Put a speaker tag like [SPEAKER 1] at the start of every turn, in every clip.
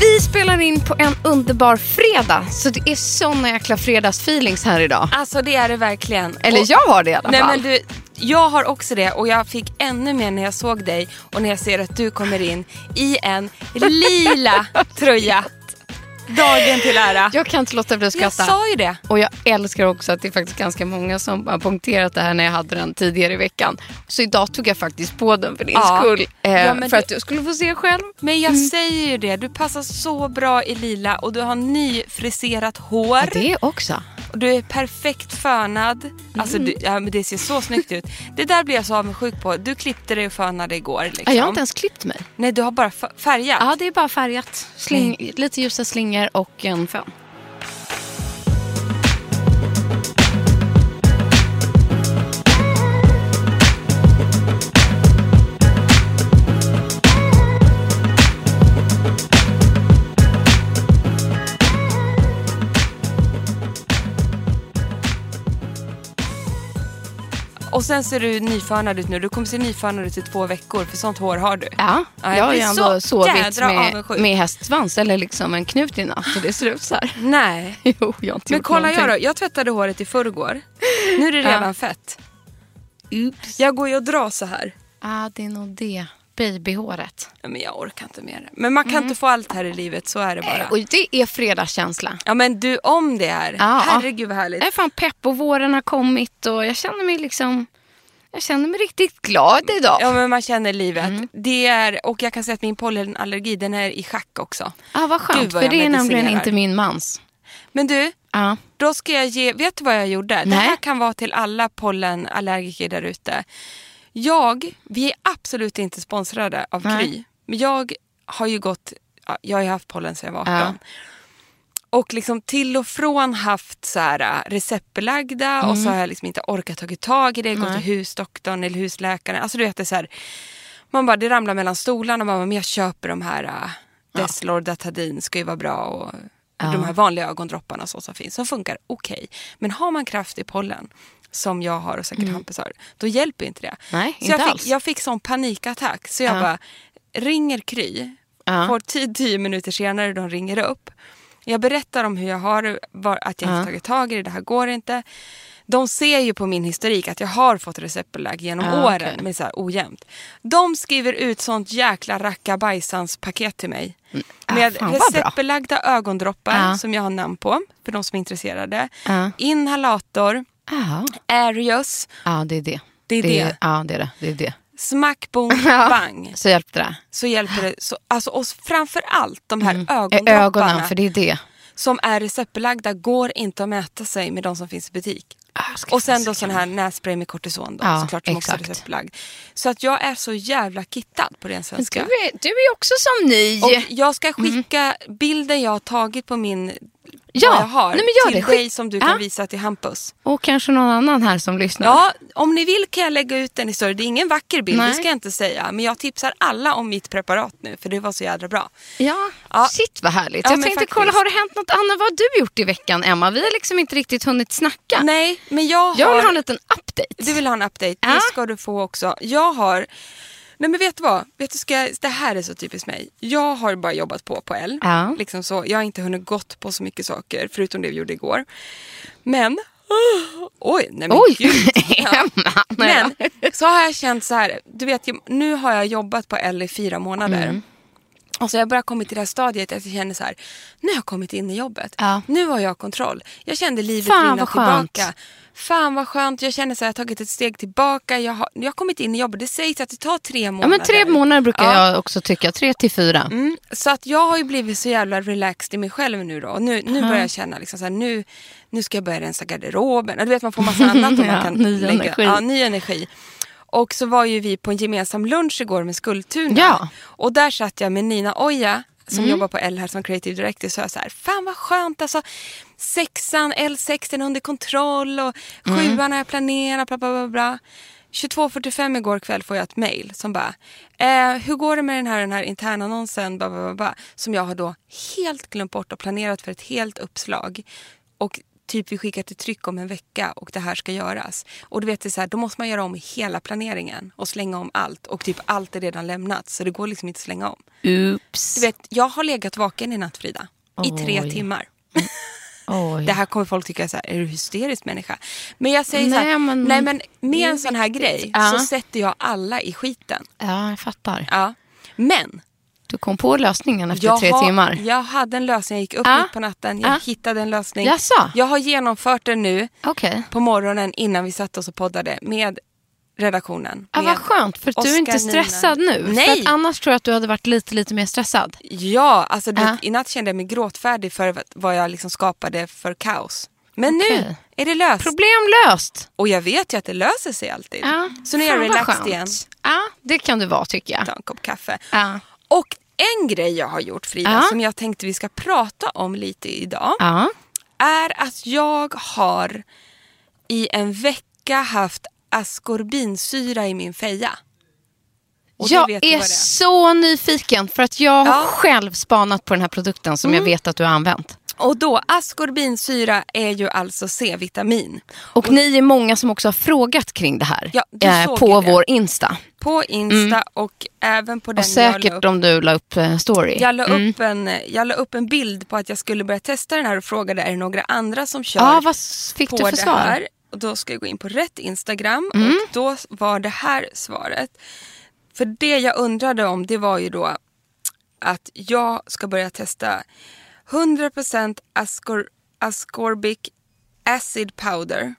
[SPEAKER 1] Vi spelar in på en underbar fredag, så det är såna jäkla fredagsfeelings här idag.
[SPEAKER 2] Alltså det är det verkligen.
[SPEAKER 1] Eller
[SPEAKER 2] Och-
[SPEAKER 1] jag har det i alla
[SPEAKER 2] Nej,
[SPEAKER 1] fall.
[SPEAKER 2] men du, jag har också det och jag fick ännu mer när jag såg dig och när jag ser att du kommer in i en lila tröja. Dagen till ära.
[SPEAKER 1] Jag kan inte låta bli att
[SPEAKER 2] Jag
[SPEAKER 1] skratta.
[SPEAKER 2] sa ju det.
[SPEAKER 1] Och jag älskar också att det är faktiskt ganska många som har punkterat det här när jag hade den tidigare i veckan. Så idag tog jag faktiskt på den för din
[SPEAKER 2] Ja.
[SPEAKER 1] skull. Eh,
[SPEAKER 2] Ja,
[SPEAKER 1] för
[SPEAKER 2] men
[SPEAKER 1] att
[SPEAKER 2] du-
[SPEAKER 1] du skulle få se själv.
[SPEAKER 2] Men jag
[SPEAKER 1] Mm.
[SPEAKER 2] säger ju det, du passar så bra i lila och du har nyfriserat
[SPEAKER 1] Ja,
[SPEAKER 2] hår.
[SPEAKER 1] det också.
[SPEAKER 2] och Du är perfekt fönad. Alltså,
[SPEAKER 1] Mm.
[SPEAKER 2] du, ja, men det ser så snyggt ut. Det där blir jag så avundsjuk på. Du klippte dig och fönade igår. Liksom.
[SPEAKER 1] Ja, jag har inte ens klippt mig.
[SPEAKER 2] Nej, du har bara f- färgat.
[SPEAKER 1] Ja, det är bara färgat. Sling, lite ljusa slingor och en fön.
[SPEAKER 2] Och sen ser du nyfönad ut nu. Du kommer se nyfönad ut i två veckor för sånt hår har du.
[SPEAKER 1] Ja,
[SPEAKER 2] Ja,
[SPEAKER 1] jag
[SPEAKER 2] jag
[SPEAKER 1] har ju
[SPEAKER 2] blir
[SPEAKER 1] ändå
[SPEAKER 2] så
[SPEAKER 1] sovit
[SPEAKER 2] jädra
[SPEAKER 1] med,
[SPEAKER 2] avundsjuk.
[SPEAKER 1] med hästsvans eller liksom en knut i natt och det ser ut så här.
[SPEAKER 2] Nej.
[SPEAKER 1] Jo, jag har inte
[SPEAKER 2] Men
[SPEAKER 1] gjort
[SPEAKER 2] kolla jag
[SPEAKER 1] någonting.
[SPEAKER 2] då. Jag tvättade håret i förrgår. Nu är det redan fett. Jag går ju och drar så här.
[SPEAKER 1] ah, det är nog det. Babyhåret.
[SPEAKER 2] Ja, Men jag orkar inte mer. Men man kan
[SPEAKER 1] Mm.
[SPEAKER 2] inte få allt här i livet. Så är det bara.
[SPEAKER 1] Eh, Och det är fredagskänsla.
[SPEAKER 2] Ja men du om det här.
[SPEAKER 1] Ja.
[SPEAKER 2] Herregud vad härligt.
[SPEAKER 1] Jag är fan pepp och våren har kommit och jag känner mig liksom... Jag känner mig riktigt glad idag.
[SPEAKER 2] Ja men man känner livet.
[SPEAKER 1] Mm.
[SPEAKER 2] Det är, och jag kan säga att min pollenallergi den är i schack också.
[SPEAKER 1] ah, vad skönt,
[SPEAKER 2] Gud, vad
[SPEAKER 1] för
[SPEAKER 2] jag
[SPEAKER 1] det är nämligen
[SPEAKER 2] medicinerar.
[SPEAKER 1] inte min mans.
[SPEAKER 2] Men du,
[SPEAKER 1] Ja.
[SPEAKER 2] Då ska jag ge, vet du vad jag gjorde? Det
[SPEAKER 1] Nej.
[SPEAKER 2] här kan vara till alla pollenallergiker där ute. Jag, vi är absolut inte sponsrade av
[SPEAKER 1] Nej.
[SPEAKER 2] Kry. Men jag har ju gått, ja, jag har ju haft pollen sedan jag var 18.
[SPEAKER 1] Ja.
[SPEAKER 2] Och liksom till och från haft så här, äh, receptbelagda och
[SPEAKER 1] Mm.
[SPEAKER 2] så har jag liksom inte orkat tagit tag i det. Gått till husdoktorn eller husläkaren. Alltså du vet det är så här, man bara det ramlar mellan stolarna. Man bara, men jag köper de här äh, Deslor, Datadin ska ju vara bra och de här vanliga ögondropparna och så som finns. Som funkar okej. Men har man kraft i pollen som jag har och säkert Hampus har, då hjälper inte det.
[SPEAKER 1] Mm. Nej,
[SPEAKER 2] så
[SPEAKER 1] inte
[SPEAKER 2] jag,
[SPEAKER 1] alls.
[SPEAKER 2] Fick, jag fick sån panikattack så jag
[SPEAKER 1] Ja.
[SPEAKER 2] bara ringer Kry,
[SPEAKER 1] Ja.
[SPEAKER 2] får tid tio minuter senare de ringer upp. Jag berättar om hur jag har det, var, att jag
[SPEAKER 1] Ja.
[SPEAKER 2] inte tagit tag i det, det här går inte. De ser ju på min historik att jag har fått receptbelagd genom
[SPEAKER 1] Ja,
[SPEAKER 2] åren,
[SPEAKER 1] okej.
[SPEAKER 2] men så här ojämnt. De skriver ut sånt jäkla rackabajsans paket till mig.
[SPEAKER 1] Ah,
[SPEAKER 2] Med
[SPEAKER 1] fan, vad bra.
[SPEAKER 2] receptbelagda ögondroppar
[SPEAKER 1] Ja.
[SPEAKER 2] som jag har namn på, för de som är intresserade.
[SPEAKER 1] Ja.
[SPEAKER 2] Inhalator,
[SPEAKER 1] Ja,
[SPEAKER 2] Arius,
[SPEAKER 1] ah, det är det.
[SPEAKER 2] Det är det.
[SPEAKER 1] Ja, det är det. det, är det.
[SPEAKER 2] smack, bong,
[SPEAKER 1] Ja.
[SPEAKER 2] bang.
[SPEAKER 1] Så hjälpte det.
[SPEAKER 2] Så hjälper det. Så, alltså, och framför allt de här ögondropparna.
[SPEAKER 1] Mm. Eh, Ögonen, för det är det.
[SPEAKER 2] som är receptbelagda går inte att mäta sig med de som finns i butik.
[SPEAKER 1] Ah,
[SPEAKER 2] Och sen då sån här nässpray med kortison då,
[SPEAKER 1] Ja,
[SPEAKER 2] såklart som också
[SPEAKER 1] exakt.
[SPEAKER 2] är receptbelagd. Så att jag är så jävla kittad på ren
[SPEAKER 1] Du
[SPEAKER 2] svenska.
[SPEAKER 1] är, Mm. du är också som ni.
[SPEAKER 2] Och jag ska skicka bilden jag har tagit på min
[SPEAKER 1] Ja,
[SPEAKER 2] vad jag har
[SPEAKER 1] nej, men gör
[SPEAKER 2] till
[SPEAKER 1] det. Skick-
[SPEAKER 2] dig som du kan
[SPEAKER 1] Ja.
[SPEAKER 2] visa till Hampus.
[SPEAKER 1] Och kanske någon annan här som lyssnar.
[SPEAKER 2] Ja, om ni vill kan jag lägga ut den i story. Det är ingen vacker bild,
[SPEAKER 1] Nej.
[SPEAKER 2] det ska jag inte säga. Men jag tipsar alla om mitt preparat nu, för det var så jädra bra.
[SPEAKER 1] Ja,
[SPEAKER 2] Ja.
[SPEAKER 1] shit vad härligt.
[SPEAKER 2] Ja,
[SPEAKER 1] jag
[SPEAKER 2] men
[SPEAKER 1] tänkte
[SPEAKER 2] faktiskt.
[SPEAKER 1] kolla, har det hänt något annat? Vad har du gjort i veckan Emma? Vi har liksom inte riktigt hunnit snacka.
[SPEAKER 2] Nej, men jag har...
[SPEAKER 1] Jag vill ha en liten update.
[SPEAKER 2] Du vill ha en update,
[SPEAKER 1] Ja.
[SPEAKER 2] det ska du få också. Jag har... Nej men vet du vad? Vet du, ska jag... Det här är så typiskt mig. Jag har bara jobbat på på L.
[SPEAKER 1] Ja.
[SPEAKER 2] Liksom så. Jag har inte hunnit gått på så mycket saker, förutom det vi gjorde igår. Men... Oj, nej men
[SPEAKER 1] Oj,
[SPEAKER 2] gud.
[SPEAKER 1] Emma. Nej,
[SPEAKER 2] Men så har jag känt så här, du vet ju, nu har jag jobbat på L i fyra månader.
[SPEAKER 1] Mm.
[SPEAKER 2] Och så har jag bara kommit till det här stadiet att jag känner så här, nu har jag kommit in i jobbet.
[SPEAKER 1] Ja.
[SPEAKER 2] Nu har jag kontroll. Jag kände livet
[SPEAKER 1] Fan,
[SPEAKER 2] rinna
[SPEAKER 1] vad skönt.
[SPEAKER 2] tillbaka. Fan vad skönt. Jag känner så här, jag har tagit ett steg tillbaka. Jag har, jag har kommit in i jobbet. Det sägs att det tar tre
[SPEAKER 1] Ja,
[SPEAKER 2] månader.
[SPEAKER 1] men tre månader brukar
[SPEAKER 2] Ja.
[SPEAKER 1] jag också tycka. Tre till fyra.
[SPEAKER 2] Mm, så att jag har ju blivit så jävla relaxed i mig själv nu då. Och Nu, nu börjar jag känna liksom så här, nu, nu ska jag börja rensa garderoben. Ja, Du vet man får massa annat och
[SPEAKER 1] Ja,
[SPEAKER 2] man kan
[SPEAKER 1] ny
[SPEAKER 2] lägga.
[SPEAKER 1] energi.
[SPEAKER 2] Ja, ny energi. Och så var ju vi på en gemensam lunch igår med Skultuna.
[SPEAKER 1] Ja.
[SPEAKER 2] Och där satt jag med Nina Oja som jobbar på L här som creative director. Så jag så här, fan vad skönt alltså. Sexan, L6 den är under kontroll och sjuan har jag planerat, bla bla bla. bla. 22.45 igår kväll får jag ett mejl som bara, eh, hur går det med den här, den här interna annonsen bla, bla, bla, bla, som jag har då helt glömt bort och planerat för ett helt uppslag. Och typ vi skickar till tryck om en vecka och det här ska göras. Och du vet, det är så här, då måste man göra om hela planeringen och slänga om allt. Och typ allt är redan lämnat så det går liksom inte att slänga om.
[SPEAKER 1] Oops.
[SPEAKER 2] Du vet, jag har legat vaken i natt Frida. I tre
[SPEAKER 1] Oj.
[SPEAKER 2] timmar.
[SPEAKER 1] Oj.
[SPEAKER 2] Det här kommer folk tycka är så här, är du hysterisk människa? Men jag säger så
[SPEAKER 1] Nej,
[SPEAKER 2] här,
[SPEAKER 1] men-
[SPEAKER 2] nej men
[SPEAKER 1] det
[SPEAKER 2] med
[SPEAKER 1] är
[SPEAKER 2] en sån här grej
[SPEAKER 1] Ja.
[SPEAKER 2] så sätter jag alla i skiten.
[SPEAKER 1] Ja, jag fattar.
[SPEAKER 2] Ja. Men
[SPEAKER 1] Du kom på lösningen efter tre
[SPEAKER 2] har-
[SPEAKER 1] timmar.
[SPEAKER 2] jag hade en lösning, jag gick upp
[SPEAKER 1] Ja.
[SPEAKER 2] mitt på natten, jag
[SPEAKER 1] Ja.
[SPEAKER 2] hittade en lösning.
[SPEAKER 1] Jaså?
[SPEAKER 2] Jag har genomfört den nu
[SPEAKER 1] Okej.
[SPEAKER 2] på morgonen innan vi satte oss och poddade med redaktionen.
[SPEAKER 1] Ja,
[SPEAKER 2] med
[SPEAKER 1] Ah, vad skönt, för att du är inte
[SPEAKER 2] Oscar, Nina.
[SPEAKER 1] stressad nu. För
[SPEAKER 2] Nej!
[SPEAKER 1] att annars tror jag att du hade varit lite, lite mer stressad.
[SPEAKER 2] Ja, alltså du
[SPEAKER 1] Ja.
[SPEAKER 2] vet, i natt kände jag mig gråtfärdig för vad- vad jag liksom skapade för kaos. Men nu
[SPEAKER 1] Okej.
[SPEAKER 2] är det löst.
[SPEAKER 1] Problem löst.
[SPEAKER 2] Och jag vet ju att det löser sig alltid.
[SPEAKER 1] Ja.
[SPEAKER 2] Så nu är jag
[SPEAKER 1] Fan, vad
[SPEAKER 2] relaxed
[SPEAKER 1] skönt. Ah.
[SPEAKER 2] igen.
[SPEAKER 1] Ja, det kan du vara tycker jag.
[SPEAKER 2] Ta en kopp kaffe.
[SPEAKER 1] Ja.
[SPEAKER 2] Och en grej jag har gjort Frida,
[SPEAKER 1] Ja.
[SPEAKER 2] som jag tänkte vi ska prata om lite idag,
[SPEAKER 1] Ja.
[SPEAKER 2] är att jag har i en vecka haft askorbinsyra i min feja. Och du
[SPEAKER 1] jag
[SPEAKER 2] vet ju
[SPEAKER 1] är
[SPEAKER 2] vad det är.
[SPEAKER 1] så nyfiken för att jag har
[SPEAKER 2] Ja. Mm.
[SPEAKER 1] själv spanat på den här produkten som jag vet att du har använt.
[SPEAKER 2] Och då, askorbinsyra är ju alltså C-vitamin.
[SPEAKER 1] Och, ni är många som också har frågat kring det här eh,
[SPEAKER 2] Ja, du såg
[SPEAKER 1] på
[SPEAKER 2] ju det.
[SPEAKER 1] vår Insta.
[SPEAKER 2] På Insta Mm. och Mm. även på den
[SPEAKER 1] Och säkert om du la upp eh, story.
[SPEAKER 2] jag la, upp. Jag, la upp en, jag la upp en bild på att jag skulle börja testa den här och frågade är det några andra som kör
[SPEAKER 1] Ja, vad s- fick
[SPEAKER 2] på
[SPEAKER 1] du för
[SPEAKER 2] det
[SPEAKER 1] svar? Mm.
[SPEAKER 2] här. Och då ska jag gå in på rätt Instagram och då var det här svaret. För det jag undrade om det var ju då att jag ska börja testa 100% ascor, ascorbic acid powder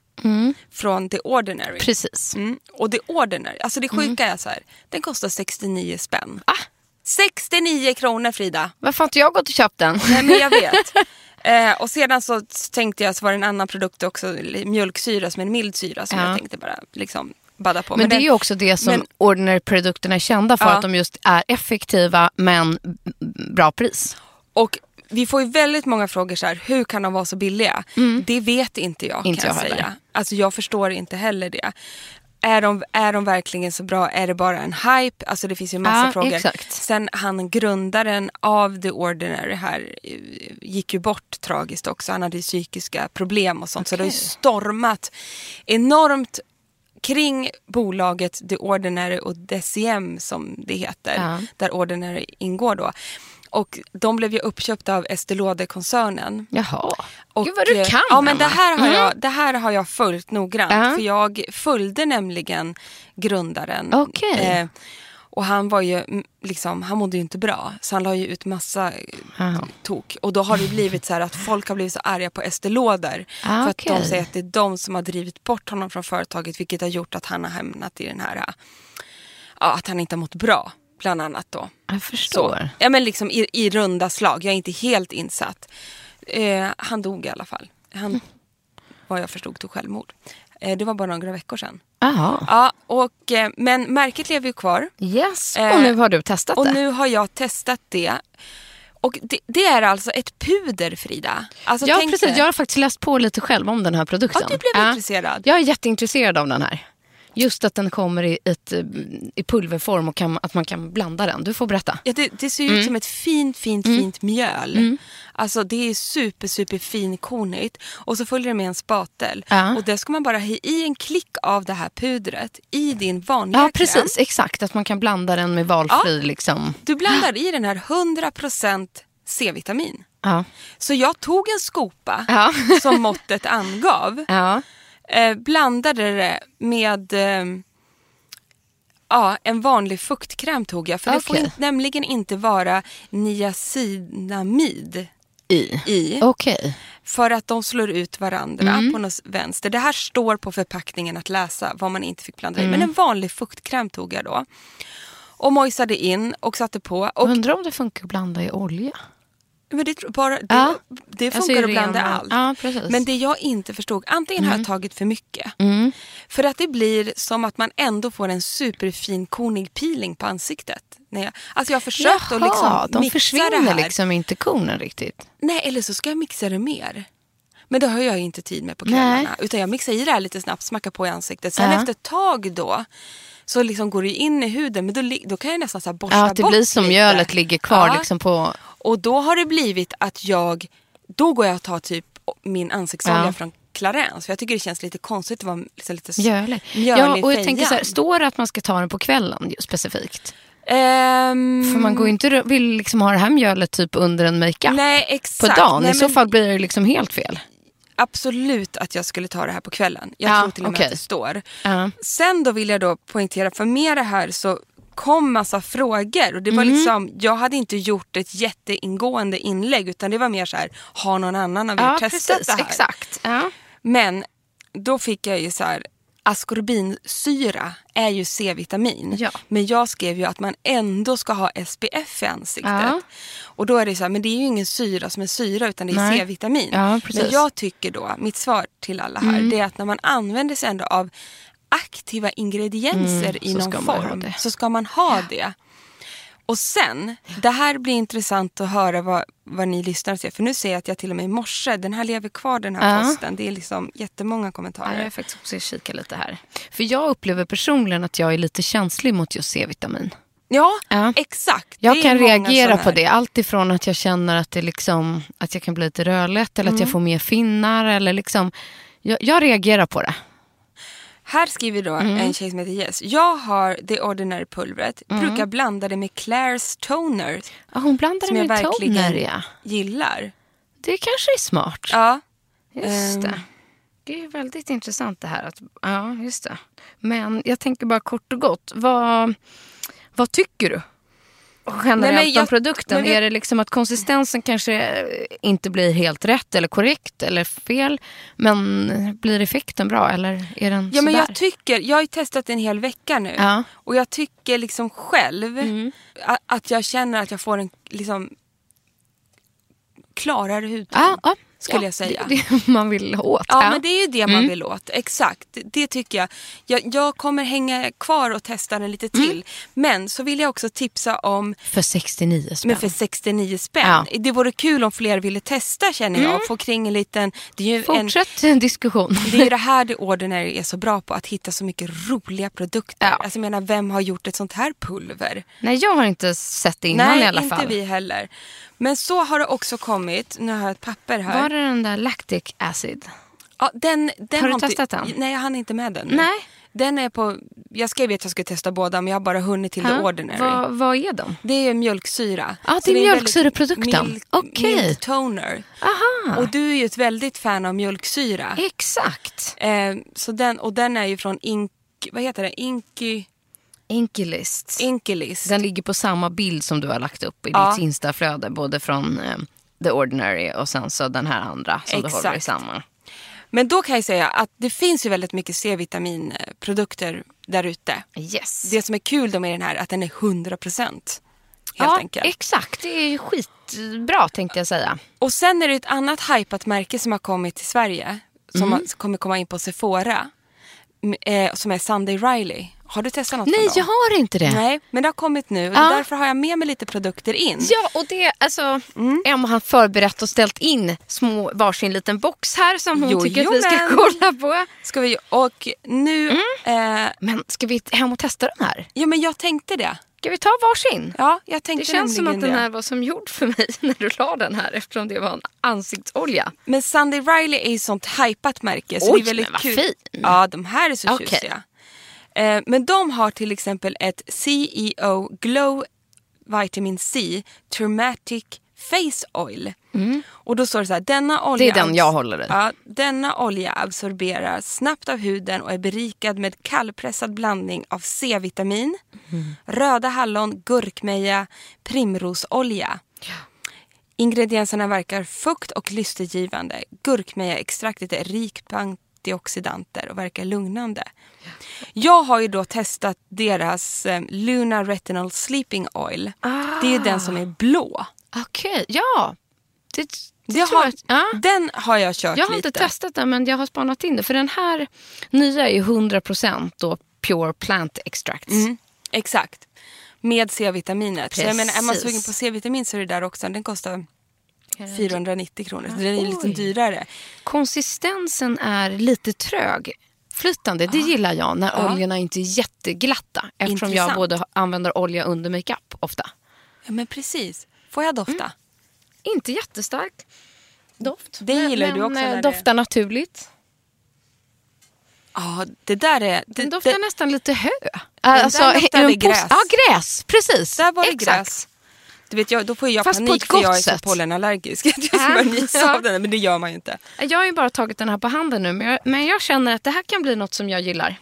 [SPEAKER 2] från The Ordinary.
[SPEAKER 1] Mm. Precis. Mm.
[SPEAKER 2] Mm. Och det ordinary, alltså det sjuka är så här, den kostar 69 spänn.
[SPEAKER 1] Ah.
[SPEAKER 2] 69 kronor Frida!
[SPEAKER 1] Varför har inte jag gått och köpt den?
[SPEAKER 2] Nej men jag vet. Eh, och sedan så tänkte jag så var det en annan produkt också, li- mjölksyra som är en mild syra som
[SPEAKER 1] Ja.
[SPEAKER 2] jag tänkte bara liksom badda på.
[SPEAKER 1] Men, det är
[SPEAKER 2] den-
[SPEAKER 1] ju också det som
[SPEAKER 2] men-
[SPEAKER 1] Ordinary-produkterna är kända för,
[SPEAKER 2] Ja.
[SPEAKER 1] att de just är effektiva men b- bra pris.
[SPEAKER 2] Och vi får ju väldigt många frågor så här, hur kan de vara så billiga? Det vet inte jag
[SPEAKER 1] Mm. Inte
[SPEAKER 2] kan
[SPEAKER 1] jag
[SPEAKER 2] jag
[SPEAKER 1] heller.
[SPEAKER 2] säga. Alltså jag förstår inte heller det. Är de, är de verkligen så bra? Är det bara en hype? Alltså det finns ju massa
[SPEAKER 1] Ja,
[SPEAKER 2] frågor.
[SPEAKER 1] exakt.
[SPEAKER 2] Sen han grundaren av The Ordinary här eh, gick ju bort tragiskt också. Han hade ju psykiska problem och sånt. Så det har ju stormat enormt kring bolaget The Ordinary och DCM som det heter,
[SPEAKER 1] Ja.
[SPEAKER 2] där Ordinary ingår då. Och de blev ju uppköpta av Estée Lauder-koncernen.
[SPEAKER 1] Jaha.
[SPEAKER 2] Och,
[SPEAKER 1] Gud vad du
[SPEAKER 2] eh,
[SPEAKER 1] kan
[SPEAKER 2] Ja, men det
[SPEAKER 1] Emma. Mm.
[SPEAKER 2] här, har jag, det här har jag följt noggrant.
[SPEAKER 1] Ja.
[SPEAKER 2] För jag följde nämligen grundaren. Eh,
[SPEAKER 1] Okej.
[SPEAKER 2] och han var ju mm, liksom, han mådde ju inte bra. Så han la ju ut massa eh,
[SPEAKER 1] Aha.
[SPEAKER 2] tok. Och då har det blivit så här att folk har blivit så arga på Estée Lauder.
[SPEAKER 1] Ah,
[SPEAKER 2] för att
[SPEAKER 1] okej.
[SPEAKER 2] de säger att det är de som har drivit bort honom från företaget. Vilket har gjort att han har hamnat i den här, eh, ja, att han inte har mått bra. Bland annat då.
[SPEAKER 1] Jag
[SPEAKER 2] Så.
[SPEAKER 1] förstår.
[SPEAKER 2] Ja, men liksom i, i runda slag. Jag är inte helt insatt. Eh, han dog i alla fall. Han, vad jag förstod, tog självmord. Eh, det var bara några veckor sedan.
[SPEAKER 1] Jaha.
[SPEAKER 2] Ja, och, eh, men märket lever ju kvar.
[SPEAKER 1] Yes,
[SPEAKER 2] Eh,
[SPEAKER 1] och nu har du testat
[SPEAKER 2] Och
[SPEAKER 1] det.
[SPEAKER 2] nu har jag testat det. Och det, det är alltså ett puder, Frida. Alltså,
[SPEAKER 1] ja,
[SPEAKER 2] tänk
[SPEAKER 1] precis.
[SPEAKER 2] dig-
[SPEAKER 1] Jag har faktiskt läst på lite själv om den här produkten.
[SPEAKER 2] Ja, du blev intresserad.
[SPEAKER 1] Jag är jätteintresserad av den här. Just att den kommer i, ett, eh, i pulverform och kan, att man kan blanda den. Du får berätta.
[SPEAKER 2] Ja, det, det ser ju
[SPEAKER 1] Mm.
[SPEAKER 2] ut som ett fint, fint, fint mjöl. Alltså det är super, super finkornigt. Och så följer det med en spatel.
[SPEAKER 1] Ja.
[SPEAKER 2] Och det ska man bara ha i en klick av det här pudret i din vanliga
[SPEAKER 1] Ja,
[SPEAKER 2] kräm.
[SPEAKER 1] precis. Exakt. Att man kan blanda den med valfri
[SPEAKER 2] Ja.
[SPEAKER 1] liksom.
[SPEAKER 2] Du blandar i den här 100% C-vitamin.
[SPEAKER 1] Ja.
[SPEAKER 2] Så jag tog en skopa
[SPEAKER 1] Ja.
[SPEAKER 2] som måttet angav.
[SPEAKER 1] Ja.
[SPEAKER 2] Eh, blandade det med ehm, ja, en vanlig fuktkräm tog jag. För det får
[SPEAKER 1] Okej.
[SPEAKER 2] in, nämligen inte vara niacinamid
[SPEAKER 1] I.
[SPEAKER 2] i.
[SPEAKER 1] Okej.
[SPEAKER 2] För att de slår ut varandra
[SPEAKER 1] Mm.
[SPEAKER 2] på något vänster. Det här står på förpackningen att läsa vad man inte fick blanda i. Men
[SPEAKER 1] Mm.
[SPEAKER 2] en vanlig fuktkräm tog jag då. Och mojsade in och satte på. Och,
[SPEAKER 1] Undrar om det funkar att blanda i olja?
[SPEAKER 2] men det, tror- bara, det,
[SPEAKER 1] Ja.
[SPEAKER 2] det
[SPEAKER 1] Alltså i
[SPEAKER 2] funkar att blanda
[SPEAKER 1] ren-
[SPEAKER 2] allt.
[SPEAKER 1] Ja, precis.
[SPEAKER 2] men det jag inte förstod, antingen har jag tagit för mycket.
[SPEAKER 1] Mm.
[SPEAKER 2] För att det blir som att man ändå får en superfin konig peeling på ansiktet. När jag, alltså jag har försökt att liksom
[SPEAKER 1] de
[SPEAKER 2] mixa
[SPEAKER 1] försvinner
[SPEAKER 2] det här.
[SPEAKER 1] liksom inte kornen riktigt.
[SPEAKER 2] Nej, eller så ska jag mixa det mer. Men det har jag ju inte tid med på
[SPEAKER 1] Nej.
[SPEAKER 2] kvällarna. Utan jag mixar i det här lite snabbt, smackar på i ansiktet. Sen
[SPEAKER 1] Ja.
[SPEAKER 2] efter ett tag då så liksom går det ju in i huden. Men då, li- då kan jag nästan så här borsta
[SPEAKER 1] Ja, att det
[SPEAKER 2] bort
[SPEAKER 1] blir som
[SPEAKER 2] lite.
[SPEAKER 1] mjölet ligger kvar
[SPEAKER 2] Ja.
[SPEAKER 1] liksom på...
[SPEAKER 2] Och då har det blivit att jag, då går jag och tar typ min ansiktsolja
[SPEAKER 1] Ja.
[SPEAKER 2] från Clarence. För jag tycker det känns lite konstigt att vara liksom lite s-
[SPEAKER 1] Mjölig.
[SPEAKER 2] mjölig
[SPEAKER 1] Ja, och jag tänker så här,
[SPEAKER 2] fejan.
[SPEAKER 1] står det att man ska ta den på kvällen ju- specifikt?
[SPEAKER 2] Ehm,
[SPEAKER 1] För man går ju inte ru- vill liksom ha det här mjölet typ under en makeup
[SPEAKER 2] nej,
[SPEAKER 1] på
[SPEAKER 2] exakt.
[SPEAKER 1] dagen.
[SPEAKER 2] Nej,
[SPEAKER 1] I så
[SPEAKER 2] men-
[SPEAKER 1] fall blir det liksom helt fel.
[SPEAKER 2] absolut att jag skulle ta det här på kvällen. Jag
[SPEAKER 1] Ja,
[SPEAKER 2] tror till och med
[SPEAKER 1] okej.
[SPEAKER 2] att det står.
[SPEAKER 1] Ja.
[SPEAKER 2] Sen då vill jag då poängtera, för med det här så kom massa frågor och det
[SPEAKER 1] Mm.
[SPEAKER 2] var liksom, jag hade inte gjort ett jätteingående inlägg utan det var mer så här, har någon annan av er testat det här?
[SPEAKER 1] Exakt. Ja.
[SPEAKER 2] Men då fick jag ju så här, askorbinsyra är ju C-vitamin.
[SPEAKER 1] Ja.
[SPEAKER 2] Men jag skrev ju att man ändå ska ha SPF i ansiktet.
[SPEAKER 1] Ja.
[SPEAKER 2] Och då är det så här, men det är ju ingen syra som är syra utan det är
[SPEAKER 1] Nej.
[SPEAKER 2] C-vitamin.
[SPEAKER 1] Ja, precis. Mm.
[SPEAKER 2] men jag tycker då, mitt svar till alla här, det är att när man använder sig ändå av aktiva ingredienser i
[SPEAKER 1] Mm, så
[SPEAKER 2] någon
[SPEAKER 1] ska man ha
[SPEAKER 2] form
[SPEAKER 1] det.
[SPEAKER 2] så ska man ha det. Och sen, det här blir intressant att höra vad, vad ni lyssnare ser. För nu ser jag att jag till och med i morse, den här lever kvar den här
[SPEAKER 1] Ja.
[SPEAKER 2] posten. Det är liksom jättemånga
[SPEAKER 1] Ja, jag
[SPEAKER 2] kommentarer.
[SPEAKER 1] är faktiskt också och kika lite här. För jag upplever personligen att jag är lite känslig mot just C-vitamin.
[SPEAKER 2] Ja,
[SPEAKER 1] Ja.
[SPEAKER 2] exakt. Det
[SPEAKER 1] Jag
[SPEAKER 2] är
[SPEAKER 1] kan
[SPEAKER 2] många
[SPEAKER 1] reagera
[SPEAKER 2] såna
[SPEAKER 1] på
[SPEAKER 2] här.
[SPEAKER 1] det. Allt ifrån att jag känner att, det liksom, att jag kan bli lite rödlätt eller att
[SPEAKER 2] Mm.
[SPEAKER 1] jag får mer finnar. Eller liksom, jag, jag reagerar på det.
[SPEAKER 2] Här skriver då
[SPEAKER 1] Mm.
[SPEAKER 2] en tjej som heter Jess. Jag har det ordinary pulvret, brukar blanda det med Claire's toner
[SPEAKER 1] Ja, hon blandar
[SPEAKER 2] som
[SPEAKER 1] det
[SPEAKER 2] jag
[SPEAKER 1] med
[SPEAKER 2] verkligen
[SPEAKER 1] toner. Ja.
[SPEAKER 2] gillar.
[SPEAKER 1] Det kanske är smart.
[SPEAKER 2] Ja. ehm.
[SPEAKER 1] Just det. Det är väldigt intressant det här. Att, ja, just det. Men jag tänker bara kort och gott. Vad, vad tycker du? Generellt
[SPEAKER 2] Nej, men
[SPEAKER 1] om
[SPEAKER 2] jag-
[SPEAKER 1] produkten.
[SPEAKER 2] men vi-
[SPEAKER 1] Är det liksom att konsistensen kanske eh, inte blir helt rätt eller korrekt eller fel. Men blir effekten bra eller är den
[SPEAKER 2] Ja, men
[SPEAKER 1] sådär?
[SPEAKER 2] jag tycker, jag har ju testat en hel vecka nu
[SPEAKER 1] Ja. Mm.
[SPEAKER 2] och jag tycker liksom själv a- att jag känner att jag får en liksom klarare hudton.
[SPEAKER 1] ja, ja,
[SPEAKER 2] skulle
[SPEAKER 1] ja,
[SPEAKER 2] jag säga.
[SPEAKER 1] Det, det man vill åt.
[SPEAKER 2] Ja, men det är ju det man
[SPEAKER 1] Mm.
[SPEAKER 2] vill åt. Exakt, det, det tycker jag. jag. Jag kommer hänga kvar och testa den lite
[SPEAKER 1] Mm.
[SPEAKER 2] till. Men så vill jag också tipsa om
[SPEAKER 1] För 69 spänn.
[SPEAKER 2] men för 69 spänn.
[SPEAKER 1] Ja. Mm.
[SPEAKER 2] Det vore kul om fler ville testa känner jag. Få kring en liten... Det är ju en,
[SPEAKER 1] Fortsätt en, diskussion.
[SPEAKER 2] det är ju det här det Ordinary är så bra på, att hitta så mycket roliga produkter.
[SPEAKER 1] Ja.
[SPEAKER 2] Alltså jag menar, vem har gjort ett sånt här pulver?
[SPEAKER 1] Nej, jag har inte sett det innan
[SPEAKER 2] Nej,
[SPEAKER 1] i alla fall.
[SPEAKER 2] inte vi heller. Men så har det också kommit, nu har jag ett papper här.
[SPEAKER 1] Var det den där lactic acid?
[SPEAKER 2] Ja, den, den
[SPEAKER 1] Har du
[SPEAKER 2] inte-
[SPEAKER 1] testat den?
[SPEAKER 2] Nej, jag hann inte med den.
[SPEAKER 1] Nej.
[SPEAKER 2] Den är på, jag skrev ju att jag skulle testa båda men jag har bara hunnit till
[SPEAKER 1] Ja,
[SPEAKER 2] the ordinary.
[SPEAKER 1] Vad, vad är de?
[SPEAKER 2] Det är ju mjölksyra.
[SPEAKER 1] Ja, det
[SPEAKER 2] Så
[SPEAKER 1] är
[SPEAKER 2] en väldigt
[SPEAKER 1] mjölksyreprodukten.
[SPEAKER 2] mild-
[SPEAKER 1] Okej.
[SPEAKER 2] mild toner.
[SPEAKER 1] Aha,
[SPEAKER 2] Och du är ju ett väldigt fan av mjölksyra.
[SPEAKER 1] exakt.
[SPEAKER 2] Eh, så den, och den är ju från Ink, vad heter det? Inky,
[SPEAKER 1] Inkilist.
[SPEAKER 2] Inkilis.
[SPEAKER 1] Den ligger på samma bild som du har lagt upp i
[SPEAKER 2] Ja.
[SPEAKER 1] ditt instaflöde. Både från eh, The Ordinary och sen så den här andra som du håller i
[SPEAKER 2] Exakt.
[SPEAKER 1] samma.
[SPEAKER 2] Men då kan jag säga att det finns ju väldigt mycket C-vitaminprodukter där ute.
[SPEAKER 1] Yes.
[SPEAKER 2] Det som är kul då med den här är att den är 100% helt
[SPEAKER 1] ja,
[SPEAKER 2] enkelt.
[SPEAKER 1] exakt. Det är ju skitbra tänkte jag säga.
[SPEAKER 2] Och sen är det ett annat hypat märke som har kommit till Sverige som har- som kommer komma in på Sephora m- eh, som är Sunday Riley. Har du testat något från
[SPEAKER 1] Nej,
[SPEAKER 2] dem?
[SPEAKER 1] jag har inte det.
[SPEAKER 2] Nej, men det har kommit nu och
[SPEAKER 1] Ja.
[SPEAKER 2] därför har jag med mig lite produkter in.
[SPEAKER 1] Ja, och det, alltså, Emma har förberett och ställt in små, varsin liten box här som hon
[SPEAKER 2] Jo,
[SPEAKER 1] tycker
[SPEAKER 2] jo,
[SPEAKER 1] att vi ska
[SPEAKER 2] men.
[SPEAKER 1] kolla på.
[SPEAKER 2] Ska vi, och nu,
[SPEAKER 1] Mm.
[SPEAKER 2] eh,
[SPEAKER 1] Men ska vi hem och testa den här?
[SPEAKER 2] ja men jag tänkte det.
[SPEAKER 1] Ska vi ta varsin?
[SPEAKER 2] Ja, jag
[SPEAKER 1] Det
[SPEAKER 2] tänkte
[SPEAKER 1] känns som att
[SPEAKER 2] nämligen
[SPEAKER 1] den
[SPEAKER 2] det.
[SPEAKER 1] här var som gjord för mig när du la den här eftersom det var en ansiktsolja.
[SPEAKER 2] Men Sunday Riley är ju sånt hypat märke. Så
[SPEAKER 1] Oj,
[SPEAKER 2] det är väldigt
[SPEAKER 1] men vad
[SPEAKER 2] kul.
[SPEAKER 1] fin.
[SPEAKER 2] Ja, de här är så
[SPEAKER 1] Okej.
[SPEAKER 2] tjusiga. Eh, men de har till exempel ett CEO Glow Vitamin C Turmatic Face Oil. Och då står det så här, denna olja...
[SPEAKER 1] Mm. Det är den jag håller i.
[SPEAKER 2] Ja, denna olja absorberar snabbt av huden och är berikad med kallpressad blandning av C-vitamin,
[SPEAKER 1] Mm.
[SPEAKER 2] röda hallon, gurkmeja, primrosolja. Ingredienserna verkar fukt och lystergivande. Gurkmejaextraktet är rikt på antioxidanter och verkar lugnande. Jag har ju då testat deras eh, Luna Retinol Sleeping Oil. Det är ju den som är
[SPEAKER 1] Ah.
[SPEAKER 2] blå.
[SPEAKER 1] Okej, ja. Det, det,
[SPEAKER 2] Det
[SPEAKER 1] tror
[SPEAKER 2] har,
[SPEAKER 1] jag. att- Ja.
[SPEAKER 2] Den har jag kört
[SPEAKER 1] Jag har
[SPEAKER 2] lite.
[SPEAKER 1] inte testat den men jag har spanat in det. För den här nya är 100% då pure plant extracts.
[SPEAKER 2] Mm, exakt. Med C-vitaminet. Så jag menar, är man
[SPEAKER 1] Precis.
[SPEAKER 2] sugen på C-vitamin så är det där också. Den kostar 490 kronor. Så den är lite
[SPEAKER 1] Oj.
[SPEAKER 2] dyrare.
[SPEAKER 1] Konsistensen är lite trög. Flytande, det gillar jag när
[SPEAKER 2] Ja.
[SPEAKER 1] oljorna inte är jätteglatta. Eftersom
[SPEAKER 2] Intressant.
[SPEAKER 1] jag både ha- använder olja under makeup ofta.
[SPEAKER 2] Ja, men precis. Får jag dofta?
[SPEAKER 1] Mm. Inte jättestark doft.
[SPEAKER 2] Det
[SPEAKER 1] men-
[SPEAKER 2] gillar du
[SPEAKER 1] men,
[SPEAKER 2] också
[SPEAKER 1] eh,
[SPEAKER 2] när det-
[SPEAKER 1] Doftar naturligt.
[SPEAKER 2] Ja, det där är... Det,
[SPEAKER 1] Den doftar
[SPEAKER 2] det,
[SPEAKER 1] nästan lite hö.
[SPEAKER 2] där luktar
[SPEAKER 1] är
[SPEAKER 2] det
[SPEAKER 1] en
[SPEAKER 2] gräs.
[SPEAKER 1] Ja, gräs. Precis.
[SPEAKER 2] där var det
[SPEAKER 1] Exakt.
[SPEAKER 2] gräs. Du vet, jag, då får jag
[SPEAKER 1] Fast på
[SPEAKER 2] panik
[SPEAKER 1] ett
[SPEAKER 2] för
[SPEAKER 1] gott
[SPEAKER 2] jag är så
[SPEAKER 1] sätt.
[SPEAKER 2] pollenallergisk. Jag
[SPEAKER 1] Ah,
[SPEAKER 2] ska bara nysa
[SPEAKER 1] ja.
[SPEAKER 2] av den, här, men det gör man ju inte.
[SPEAKER 1] Jag har ju bara tagit den här på handen nu men jag, men jag känner att det här kan bli något som jag gillar.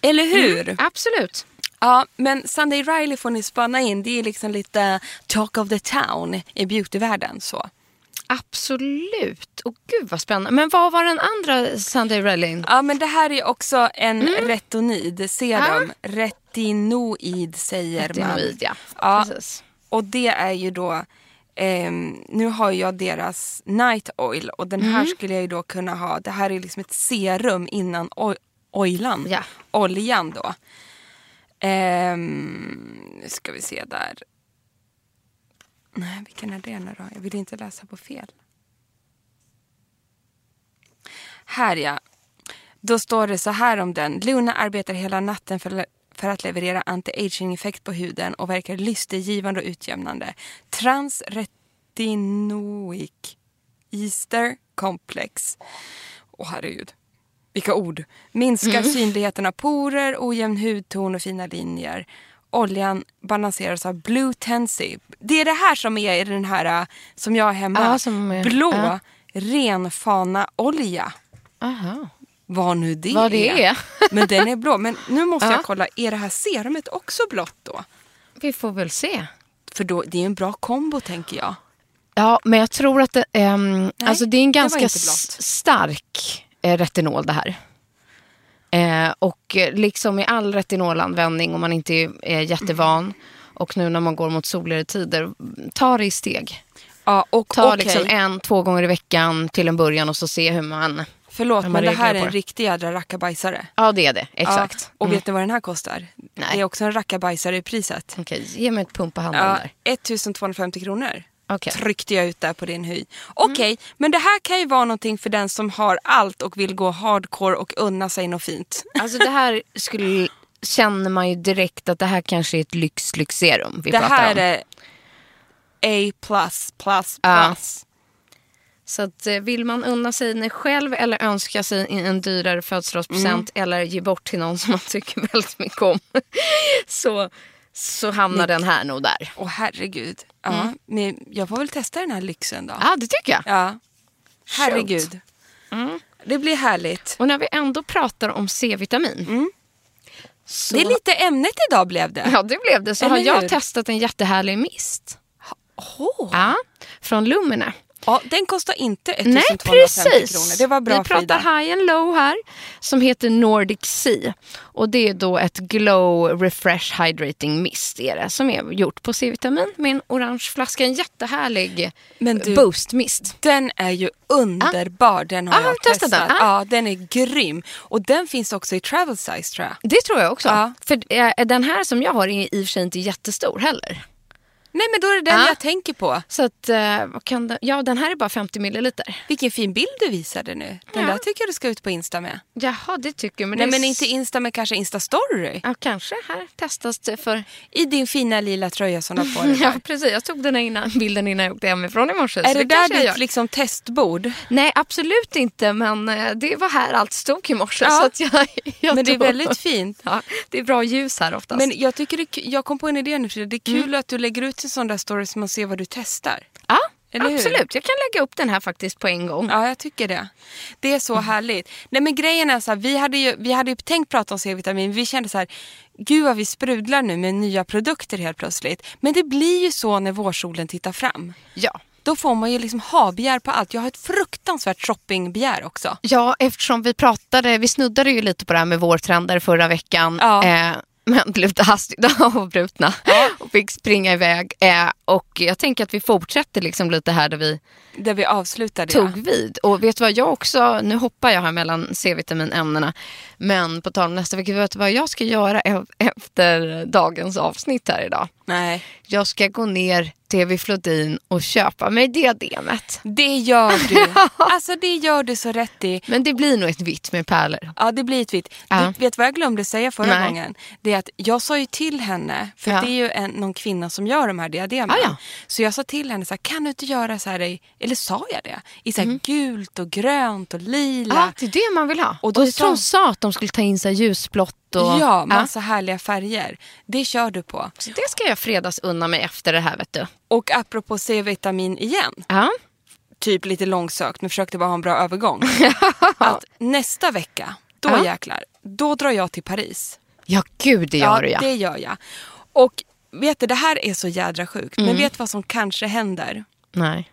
[SPEAKER 2] Eller hur?
[SPEAKER 1] Absolut.
[SPEAKER 2] Ja, men Sunday Riley får ni spana in. Det är liksom lite talk of the town i beautyvärlden. Så.
[SPEAKER 1] Absolut. Och gud vad spännande. Men vad var den andra Sunday Rallyn?
[SPEAKER 2] Ja, men det här är också en
[SPEAKER 1] Mm.
[SPEAKER 2] retonid serum. Retinoid säger
[SPEAKER 1] Retinoid, ja.
[SPEAKER 2] man. Ja,
[SPEAKER 1] Precis.
[SPEAKER 2] Och det är ju då... ehm, nu har jag deras night oil och den
[SPEAKER 1] Mm.
[SPEAKER 2] här skulle jag ju då kunna ha. Det här är liksom ett serum innan oj- oilan.
[SPEAKER 1] Ja.
[SPEAKER 2] Oljan då. Ehm, nu ska vi se där. Nej, vilken är det nu då? Jag vill inte läsa på fel. Här ja. Då står det så här om den. Luna arbetar hela natten för, för att leverera anti-aging-effekt på huden och verkar lystergivande och utjämnande. Transretinoic Easter Complex. Åh herregud. Vilka ord.
[SPEAKER 1] Mm.
[SPEAKER 2] Minskar synligheten av porer, ojämn hudton och fina linjer. Oljan balanseras av Blue Tensi. Det är det här som är i den här äh, som jag har hemma.
[SPEAKER 1] Ja, som är-
[SPEAKER 2] Blå
[SPEAKER 1] ja.
[SPEAKER 2] renfanaolja
[SPEAKER 1] Aha.
[SPEAKER 2] vad nu det,
[SPEAKER 1] Vad det är.
[SPEAKER 2] Men den är blå. Men nu måste
[SPEAKER 1] Ja.
[SPEAKER 2] jag kolla, är det här serumet också blått då?
[SPEAKER 1] Vi får väl se.
[SPEAKER 2] För då, det är ju en bra kombo tänker jag.
[SPEAKER 1] Ja, men jag tror att det, ehm, alltså det är en
[SPEAKER 2] det var
[SPEAKER 1] ganska
[SPEAKER 2] inte blått.
[SPEAKER 1] s- stark eh, retinol det här. Eh, och eh, liksom i all retinolanvändning om man inte är jättevan
[SPEAKER 2] Mm.
[SPEAKER 1] och nu när man går mot soligare tider, ta det i steg.
[SPEAKER 2] Ja, och
[SPEAKER 1] Ta
[SPEAKER 2] okej.
[SPEAKER 1] liksom en, två gånger i veckan till en början och så se hur man...
[SPEAKER 2] Förlåt,
[SPEAKER 1] när man
[SPEAKER 2] men det här
[SPEAKER 1] reagerar
[SPEAKER 2] är
[SPEAKER 1] på
[SPEAKER 2] en
[SPEAKER 1] det.
[SPEAKER 2] riktig jädra rackabajsare.
[SPEAKER 1] Ja, det är det.
[SPEAKER 2] Ja,
[SPEAKER 1] Exakt. Mm.
[SPEAKER 2] Och vet ni vad den här kostar?
[SPEAKER 1] Nej.
[SPEAKER 2] Det är också en rackabajsare i priset.
[SPEAKER 1] Mm. Okej, ge mig ett pump på handen
[SPEAKER 2] Ja,
[SPEAKER 1] där.
[SPEAKER 2] 1250 kronor.
[SPEAKER 1] Okej. Mm.
[SPEAKER 2] Tryckte jag ut där på din höj. Okej, men det här kan ju vara någonting för den som har allt och vill gå hardcore och unna sig något fint.
[SPEAKER 1] Alltså det här skulle, känner man ju direkt att det här kanske är ett lyxlyxserum vi
[SPEAKER 2] Det
[SPEAKER 1] pratar
[SPEAKER 2] här
[SPEAKER 1] om.
[SPEAKER 2] är A++++. plus plus
[SPEAKER 1] Ja.
[SPEAKER 2] plus.
[SPEAKER 1] Så att, eh, vill man unna sig det själv eller önska sig en- en dyrare födelsedagspresent eller ge bort till någon som man tycker väldigt mycket om så, så hamnar den här nog där.
[SPEAKER 2] Åh herregud. Ja, men jag får väl testa den här lyxen då.
[SPEAKER 1] Mm. Ja, det tycker jag.
[SPEAKER 2] Ja. Herregud.
[SPEAKER 1] Mm.
[SPEAKER 2] Det blir härligt.
[SPEAKER 1] Och när vi ändå pratar om C-vitamin. Så,
[SPEAKER 2] Det är lite ämnet idag blev det.
[SPEAKER 1] Ja, det blev det. Så
[SPEAKER 2] Eller
[SPEAKER 1] har jag
[SPEAKER 2] hur?
[SPEAKER 1] testat en jättehärlig mist.
[SPEAKER 2] Åh,
[SPEAKER 1] Ja, från Lumine.
[SPEAKER 2] Ja, den kostar inte
[SPEAKER 1] Nej,
[SPEAKER 2] 1250 kronor.
[SPEAKER 1] precis.
[SPEAKER 2] Det var bra
[SPEAKER 1] Vi pratar
[SPEAKER 2] Frida.
[SPEAKER 1] high and low här, som heter Nordic Sea. Och det är då ett glow refresh hydrating mist är det, som är gjort på C-vitamin med en orange flaska. En jättehärlig eh,
[SPEAKER 2] Men du-
[SPEAKER 1] boostmist.
[SPEAKER 2] Den är ju underbar. Den har
[SPEAKER 1] Ah, har
[SPEAKER 2] jag
[SPEAKER 1] du testat
[SPEAKER 2] testat.
[SPEAKER 1] den? Ah.
[SPEAKER 2] Ja, den är grym. Och den finns också i travel size tror jag.
[SPEAKER 1] Det tror jag också.
[SPEAKER 2] Ja.
[SPEAKER 1] För eh, den här som jag har är i och för sig inte jättestor heller.
[SPEAKER 2] Nej, men då är det den
[SPEAKER 1] Ah.
[SPEAKER 2] jag tänker på.
[SPEAKER 1] Så att, eh, vad kan det, ja, den här är bara 50 milliliter.
[SPEAKER 2] Vilken fin bild du visade nu. Den
[SPEAKER 1] Ja.
[SPEAKER 2] där tycker jag du ska ut på Insta med.
[SPEAKER 1] Jaha, det tycker jag. Men
[SPEAKER 2] Nej,
[SPEAKER 1] det är
[SPEAKER 2] men
[SPEAKER 1] s-
[SPEAKER 2] inte Insta, men kanske Insta-story.
[SPEAKER 1] Ja, kanske här testas det för...
[SPEAKER 2] I din fina lila tröja som du har på dig.
[SPEAKER 1] Ja, precis. Jag tog den här innan, bilden innan jag åkte hemifrån i morse. så
[SPEAKER 2] Är det, där
[SPEAKER 1] kanske jag
[SPEAKER 2] ditt
[SPEAKER 1] gör.
[SPEAKER 2] liksom, testbord?
[SPEAKER 1] Nej, absolut inte. Men eh, det var här allt stod i morse.
[SPEAKER 2] Ja.
[SPEAKER 1] Så att jag, jag
[SPEAKER 2] Men det är
[SPEAKER 1] tog-
[SPEAKER 2] väldigt fint.
[SPEAKER 1] Ja, det är bra ljus här oftast.
[SPEAKER 2] Men jag, tycker det, är ku- jag kom på en idé nu Frida. Det är kul
[SPEAKER 1] Mm.
[SPEAKER 2] att du lägger ut en sån där story så man ser vad du testar.
[SPEAKER 1] ja,
[SPEAKER 2] Eller hur?
[SPEAKER 1] absolut. Jag kan lägga upp den här faktiskt på en gång.
[SPEAKER 2] Ja, jag tycker det. Det är så
[SPEAKER 1] Mm.
[SPEAKER 2] härligt. Nej, men grejen är så här, vi hade ju, vi hade ju tänkt prata om C-vitamin. Vi kände så här, gud vad vi sprudlar nu med nya produkter helt plötsligt. Men det blir ju så när vårsolen tittar fram.
[SPEAKER 1] Ja.
[SPEAKER 2] Då får man ju liksom ha begär på allt. Jag har ett fruktansvärt shoppingbegär också.
[SPEAKER 1] Ja, eftersom vi pratade, vi snuddade ju lite på det här med vårtrender förra veckan.
[SPEAKER 2] Ja.
[SPEAKER 1] Eh, men blev lite hastigt avbrutna och fick springa iväg. Eh, och jag tänker att vi fortsätter liksom lite här där vi
[SPEAKER 2] Där vi avslutade. ja.
[SPEAKER 1] tog vid. Och vet du vad jag också, nu hoppar jag här mellan C-vitaminämnena, men på tal om nästa vecka, vet du vad jag ska göra e- efter dagens avsnitt här idag?
[SPEAKER 2] Nej,
[SPEAKER 1] Jag ska gå ner till vid Flodin och köpa mig diademet.
[SPEAKER 2] det gör du. Alltså det gör du så rätt i.
[SPEAKER 1] Men det blir nog ett vitt med pärlor.
[SPEAKER 2] Ja, det blir ett vitt.
[SPEAKER 1] Ja.
[SPEAKER 2] Du vet vad jag glömde säga förra
[SPEAKER 1] Nej.
[SPEAKER 2] gången? Det är att jag sa ju till henne, för
[SPEAKER 1] Ja.
[SPEAKER 2] det är ju en, någon kvinna som gör de här diademen.
[SPEAKER 1] Ah, ja.
[SPEAKER 2] Så jag sa till henne, så här, kan du inte göra så här, i, eller sa jag det? I så här
[SPEAKER 1] Mm.
[SPEAKER 2] gult och grönt och lila.
[SPEAKER 1] Ja, det är det man vill ha.
[SPEAKER 2] Och
[SPEAKER 1] Ah. Och
[SPEAKER 2] då
[SPEAKER 1] då jag
[SPEAKER 2] sa-
[SPEAKER 1] tror hon sa att de skulle ta in så här ljusblått och... Ah.
[SPEAKER 2] Ja, massa härliga färger. Det kör du på.
[SPEAKER 1] Så det ska jag fredags unna mig efter det här vet du.
[SPEAKER 2] Och apropå C-vitamin igen,
[SPEAKER 1] Ja.
[SPEAKER 2] typ lite långsökt, men försökte bara ha en bra övergång. att nästa vecka, då
[SPEAKER 1] Ja.
[SPEAKER 2] jäklar, då drar jag till Paris.
[SPEAKER 1] ja, gud det gör du ja.
[SPEAKER 2] det gör jag. Och vet du, det här är så jädra sjukt.
[SPEAKER 1] Mm.
[SPEAKER 2] Men vet du vad som kanske händer?
[SPEAKER 1] Nej.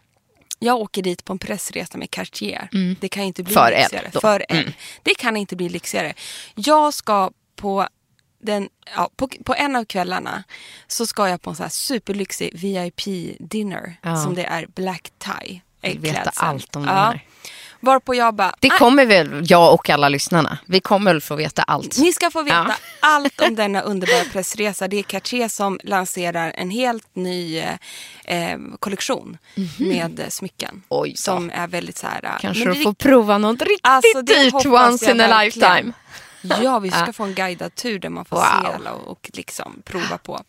[SPEAKER 2] Jag åker dit på en pressresa med Cartier. Det kan inte bli
[SPEAKER 1] Mm. För L
[SPEAKER 2] lyxigare.
[SPEAKER 1] då. Mm.
[SPEAKER 2] För L. Det kan inte bli lyxigare. Jag ska på, den, ja, på, på en av kvällarna så ska jag på en så här superlyxig VIP-dinner
[SPEAKER 1] Ja.
[SPEAKER 2] som det är black tie.
[SPEAKER 1] Vill veta
[SPEAKER 2] klädseln.
[SPEAKER 1] allt om den här.
[SPEAKER 2] Varpå jag bara,
[SPEAKER 1] Det
[SPEAKER 2] "Ah,
[SPEAKER 1] kommer väl jag och alla lyssnarna. Vi kommer väl få veta allt.
[SPEAKER 2] Ni ska få veta
[SPEAKER 1] Ja.
[SPEAKER 2] allt om denna underbara pressresa. Det är Cartier som lanserar en helt ny eh, eh, kollektion med eh, smycken.
[SPEAKER 1] Mhm. Oj då.
[SPEAKER 2] som är väldigt så här... eh,
[SPEAKER 1] Kanske
[SPEAKER 2] men
[SPEAKER 1] du
[SPEAKER 2] det-
[SPEAKER 1] får prova något riktigt
[SPEAKER 2] Alltså, det
[SPEAKER 1] dyrt
[SPEAKER 2] hoppas
[SPEAKER 1] once
[SPEAKER 2] jag
[SPEAKER 1] in a
[SPEAKER 2] verkligen.
[SPEAKER 1] lifetime.
[SPEAKER 2] Ja, vi ska få en guidad tur där man får se
[SPEAKER 1] Wow.
[SPEAKER 2] alla och, och liksom prova på.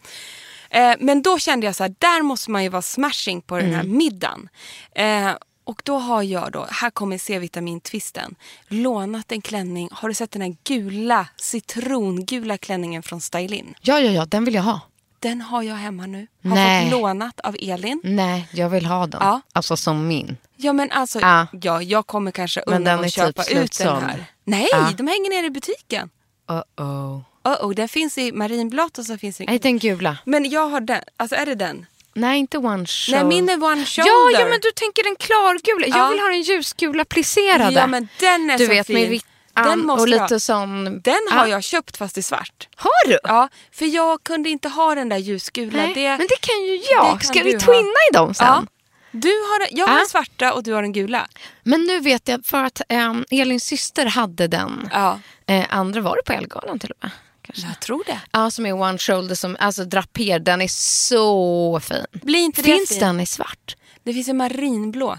[SPEAKER 2] Eh, men då kände jag så här, där måste man ju vara smashing på den här
[SPEAKER 1] Mm.
[SPEAKER 2] middagen. Eh, och då har jag då, här kommer C-vitamintvisten, lånat en klänning. Har du sett den här gula, citrongula klänningen från Stylin?
[SPEAKER 1] Ja, ja, ja, den vill jag ha.
[SPEAKER 2] Den har jag hemma nu. Har
[SPEAKER 1] Nej.
[SPEAKER 2] fått lånat av Elin.
[SPEAKER 1] Nej, jag vill ha den.
[SPEAKER 2] Ja.
[SPEAKER 1] Alltså som min.
[SPEAKER 2] Ja men alltså,
[SPEAKER 1] Ja.
[SPEAKER 2] ja, jag kommer kanske
[SPEAKER 1] Men
[SPEAKER 2] unna
[SPEAKER 1] den
[SPEAKER 2] mig
[SPEAKER 1] är typ
[SPEAKER 2] att köpa ut den
[SPEAKER 1] slutsåld.
[SPEAKER 2] här. Nej,
[SPEAKER 1] Ja.
[SPEAKER 2] de hänger nere i butiken.
[SPEAKER 1] Uh-oh.
[SPEAKER 2] Uh -oh, den finns i marinblått och så finns den...
[SPEAKER 1] Nej, den gula.
[SPEAKER 2] Men jag har den, alltså är det den?
[SPEAKER 1] Nej, inte one shoulder.
[SPEAKER 2] Nej min är one
[SPEAKER 1] Ja,
[SPEAKER 2] shoulder.
[SPEAKER 1] ja, men du tänker den klargula.
[SPEAKER 2] Ja.
[SPEAKER 1] Jag vill ha den ljusgula plisserade.
[SPEAKER 2] Ja, men den är
[SPEAKER 1] du
[SPEAKER 2] så
[SPEAKER 1] vet,
[SPEAKER 2] fin.
[SPEAKER 1] Med vitt-
[SPEAKER 2] Den måste
[SPEAKER 1] och
[SPEAKER 2] jag ha.
[SPEAKER 1] lite sån...
[SPEAKER 2] Den har
[SPEAKER 1] Ja.
[SPEAKER 2] jag köpt fast i svart.
[SPEAKER 1] Har du?
[SPEAKER 2] Ja, för jag kunde inte ha den där ljusgula.
[SPEAKER 1] Nej, men det kan ju
[SPEAKER 2] det
[SPEAKER 1] jag.
[SPEAKER 2] kan
[SPEAKER 1] Ska vi
[SPEAKER 2] du ha.
[SPEAKER 1] twinna i dem sen? Ah.
[SPEAKER 2] Ja. Du har, jag har
[SPEAKER 1] Ja.
[SPEAKER 2] den svarta och du har den gula.
[SPEAKER 1] Men nu vet jag, för att ehm, Elins syster hade den.
[SPEAKER 2] Ja.
[SPEAKER 1] Eh, andra var det på Elgalan till och med. Kanske.
[SPEAKER 2] Jag tror det.
[SPEAKER 1] Ja, som är One Shoulder, som, alltså draper. Den är så fin.
[SPEAKER 2] Blir inte det
[SPEAKER 1] Finns
[SPEAKER 2] fin?
[SPEAKER 1] den i svart?
[SPEAKER 2] Det finns en marinblå.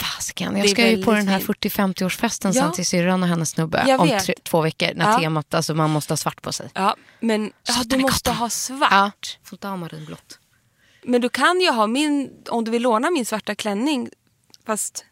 [SPEAKER 1] Fasken,
[SPEAKER 2] Det är
[SPEAKER 1] jag ska ju på
[SPEAKER 2] väldigt
[SPEAKER 1] den här
[SPEAKER 2] fin.
[SPEAKER 1] 40-50-årsfesten
[SPEAKER 2] Ja.
[SPEAKER 1] sen till syrran och hennes snubbe
[SPEAKER 2] Jag
[SPEAKER 1] om
[SPEAKER 2] vet.
[SPEAKER 1] tre, två veckor. När
[SPEAKER 2] Ja.
[SPEAKER 1] temat, alltså man måste ha svart på sig.
[SPEAKER 2] Ja, men ja,
[SPEAKER 1] Satan
[SPEAKER 2] du
[SPEAKER 1] i
[SPEAKER 2] måste
[SPEAKER 1] gatan.
[SPEAKER 2] ha svart.
[SPEAKER 1] Ja, får inte ha marinblått.
[SPEAKER 2] Men du kan ju ha min, om du vill låna min svarta klänning, fast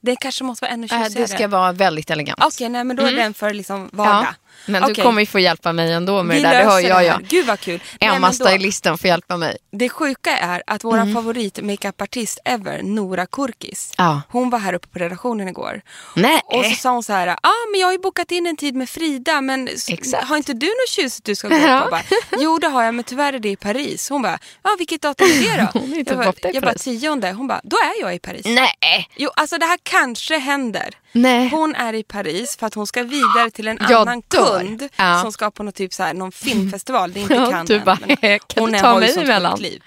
[SPEAKER 2] det kanske måste vara ännu
[SPEAKER 1] Äh,
[SPEAKER 2] tjusigare.
[SPEAKER 1] det ska vara väldigt elegant.
[SPEAKER 2] Okej, nej men då är den för liksom vardag.
[SPEAKER 1] Mm. Ja. Men du
[SPEAKER 2] Okej.
[SPEAKER 1] kommer ju få hjälpa mig ändå med
[SPEAKER 2] Vi
[SPEAKER 1] det där. Det hör
[SPEAKER 2] löser
[SPEAKER 1] jag.
[SPEAKER 2] det
[SPEAKER 1] ja.
[SPEAKER 2] här. Gud vad kul. Nej, men
[SPEAKER 1] Emma
[SPEAKER 2] då-
[SPEAKER 1] stylisten får hjälpa mig.
[SPEAKER 2] Det sjuka är att vår favorit makeupartist ever, Nora Kurkis,
[SPEAKER 1] Mm. Ja.
[SPEAKER 2] hon var här uppe på redaktionen igår.
[SPEAKER 1] Nej.
[SPEAKER 2] Och så sa hon så här, ah, men jag har ju bokat in en tid med Frida, men s-
[SPEAKER 1] Exakt.
[SPEAKER 2] har inte du något tjusigt du ska gå på?
[SPEAKER 1] Ja.
[SPEAKER 2] Jag Bara, jo det har jag, men tyvärr är det i Paris. Hon bara, ah, vilket datum är det då?
[SPEAKER 1] Hon är inte
[SPEAKER 2] jag bara,
[SPEAKER 1] borta i
[SPEAKER 2] jag bara,
[SPEAKER 1] Paris.
[SPEAKER 2] tionde. Hon bara, då är jag i Paris.
[SPEAKER 1] Nej.
[SPEAKER 2] Jo, alltså det här kanske händer.
[SPEAKER 1] Nej.
[SPEAKER 2] Hon är i Paris för att hon ska vidare till en
[SPEAKER 1] Eh. Jag
[SPEAKER 2] annan
[SPEAKER 1] dör.
[SPEAKER 2] kund
[SPEAKER 1] Ja.
[SPEAKER 2] som ska på någon, typ så här, någon filmfestival. Det är inte
[SPEAKER 1] Ja,
[SPEAKER 2] Cannes
[SPEAKER 1] du
[SPEAKER 2] än,
[SPEAKER 1] bara,
[SPEAKER 2] men
[SPEAKER 1] kan du
[SPEAKER 2] hon är-
[SPEAKER 1] ta
[SPEAKER 2] har ju
[SPEAKER 1] mig
[SPEAKER 2] sånt sjukt
[SPEAKER 1] emellan?
[SPEAKER 2] liv.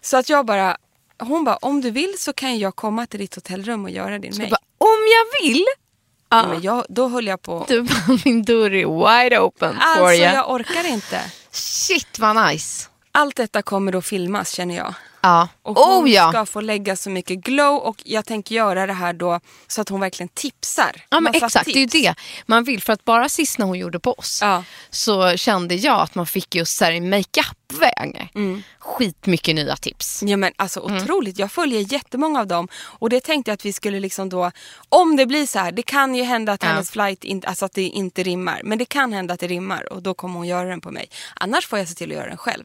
[SPEAKER 2] Så att jag bara, hon bara, om du vill så kan jag komma till ditt hotellrum och göra din make.
[SPEAKER 1] Bara, om jag vill.
[SPEAKER 2] Ja. Men jag, då höll jag på.
[SPEAKER 1] Du bara, min dörr är wide open for
[SPEAKER 2] Alltså
[SPEAKER 1] you.
[SPEAKER 2] jag orkar inte.
[SPEAKER 1] Shit vad nice.
[SPEAKER 2] Allt detta kommer då filmas känner jag.
[SPEAKER 1] Ja.
[SPEAKER 2] Och hon
[SPEAKER 1] oh ja.
[SPEAKER 2] ska få lägga så mycket glow och jag tänker göra det här då så att hon verkligen tipsar.
[SPEAKER 1] Ja men
[SPEAKER 2] Massa
[SPEAKER 1] exakt, det är ju
[SPEAKER 2] tips.
[SPEAKER 1] det man vill. För att bara sist när hon gjorde på oss
[SPEAKER 2] Ja.
[SPEAKER 1] så kände jag att man fick just så här i makeup-väg
[SPEAKER 2] Mm.
[SPEAKER 1] skitmycket nya tips.
[SPEAKER 2] Ja men alltså
[SPEAKER 1] Mm.
[SPEAKER 2] otroligt, jag följer jättemånga av dem och det tänkte jag att vi skulle liksom då, om det blir så här, det kan ju hända att
[SPEAKER 1] Ja.
[SPEAKER 2] hennes flight inte, alltså att det inte rimmar, men det kan hända att det rimmar och då kommer hon göra den på mig. Annars får jag se till att göra den själv.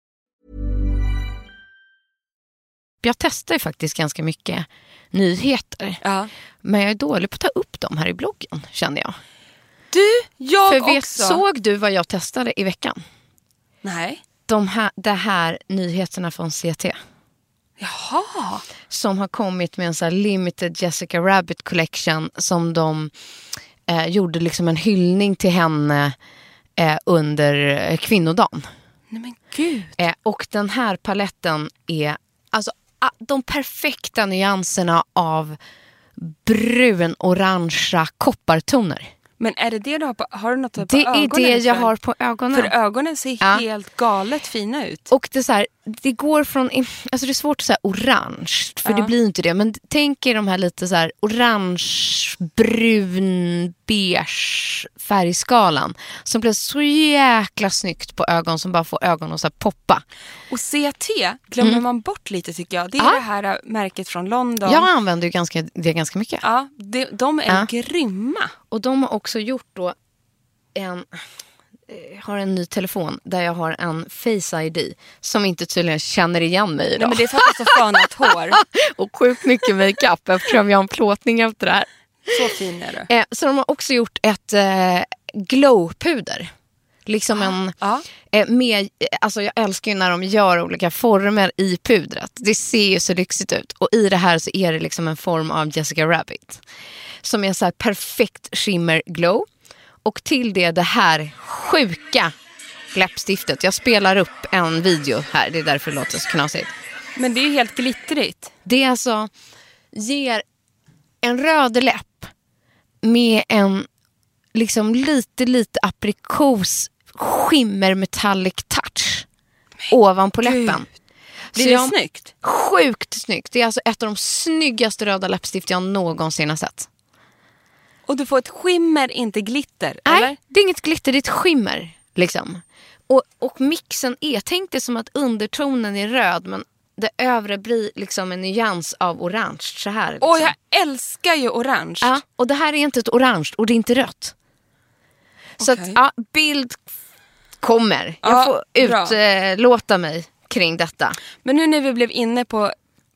[SPEAKER 1] Jag testar ju faktiskt ganska mycket nyheter.
[SPEAKER 2] Ja.
[SPEAKER 1] Men jag är dålig på att ta upp dem här i bloggen känner jag.
[SPEAKER 2] Du, jag
[SPEAKER 1] För vet,
[SPEAKER 2] också.
[SPEAKER 1] såg du vad jag testade i veckan?
[SPEAKER 2] Nej.
[SPEAKER 1] De här, det här nyheterna från CT.
[SPEAKER 2] Jaha.
[SPEAKER 1] som har kommit med en så här limited Jessica Rabbit collection som de eh, gjorde liksom en hyllning till henne eh, under eh, kvinnodagen.
[SPEAKER 2] Nej men gud.
[SPEAKER 1] Eh, och den här paletten är alltså a- de perfekta nyanserna av brun, orangea koppartoner.
[SPEAKER 2] Men är det det du har på, har du något på
[SPEAKER 1] Det
[SPEAKER 2] ögonen?
[SPEAKER 1] är det jag
[SPEAKER 2] för?
[SPEAKER 1] har på ögonen.
[SPEAKER 2] För ögonen ser
[SPEAKER 1] Ja.
[SPEAKER 2] helt galet fina ut.
[SPEAKER 1] Och det, är så här, det går från, alltså det är svårt att säga orange, för det blir inte det. Men tänk er de här lite så här orange, brun, beige färgskalan. Som blir så jäkla snyggt på ögon som bara får ögonen att så här poppa.
[SPEAKER 2] Och CT glömmer man bort lite tycker jag. Det är
[SPEAKER 1] Mm. Ja.
[SPEAKER 2] det här äh, märket från London.
[SPEAKER 1] Jag använder ju ganska, det ganska mycket.
[SPEAKER 2] Ja, de, de är
[SPEAKER 1] Ja.
[SPEAKER 2] grymma.
[SPEAKER 1] Och de har också gjort då en, eh, har en ny telefon där jag har en face ID som inte tydligen känner igen mig
[SPEAKER 2] Nej,
[SPEAKER 1] idag.
[SPEAKER 2] men det är för att jag har så fönat hår.
[SPEAKER 1] Och sjukt mycket makeup eftersom jag har en plåtning efter det här.
[SPEAKER 2] Så fin är du.
[SPEAKER 1] Eh, så de har också gjort ett eh, glowpuder. Liksom en,
[SPEAKER 2] ja.
[SPEAKER 1] eh, med, alltså jag älskar ju när de gör olika former i pudret. Det ser ju så lyxigt ut. Och i det här så är det liksom en form av Jessica Rabbit. Som är så här perfekt shimmer glow. Och till det det här sjuka läppstiftet. Jag spelar upp en video här, det är därför det låter så knasigt.
[SPEAKER 2] Men det är ju helt glittrigt.
[SPEAKER 1] Det är alltså ger en röd läpp med en liksom lite, lite aprikos skimmer metallic touch. ovanpå läppen.
[SPEAKER 2] Blir det
[SPEAKER 1] jag-
[SPEAKER 2] snyggt?
[SPEAKER 1] Sjukt snyggt. Det är alltså ett av de snyggaste röda läppstift jag någonsin har sett.
[SPEAKER 2] Och du får ett skimmer, inte glitter? Eller?
[SPEAKER 1] Nej, det är inget glitter, det är ett skimmer. Liksom. Och, och mixen är, tänk dig som att undertonen är röd men det övre blir liksom en nyans av orange. Så här, liksom.
[SPEAKER 2] Åh, jag älskar ju orange.
[SPEAKER 1] ja, och det här är inte ett orange och det är inte rött. Så att,
[SPEAKER 2] Okej.
[SPEAKER 1] ja, bild kommer.
[SPEAKER 2] Ja,
[SPEAKER 1] Jag får
[SPEAKER 2] bra.
[SPEAKER 1] utlåta mig kring detta.
[SPEAKER 2] Men nu när vi blev inne på,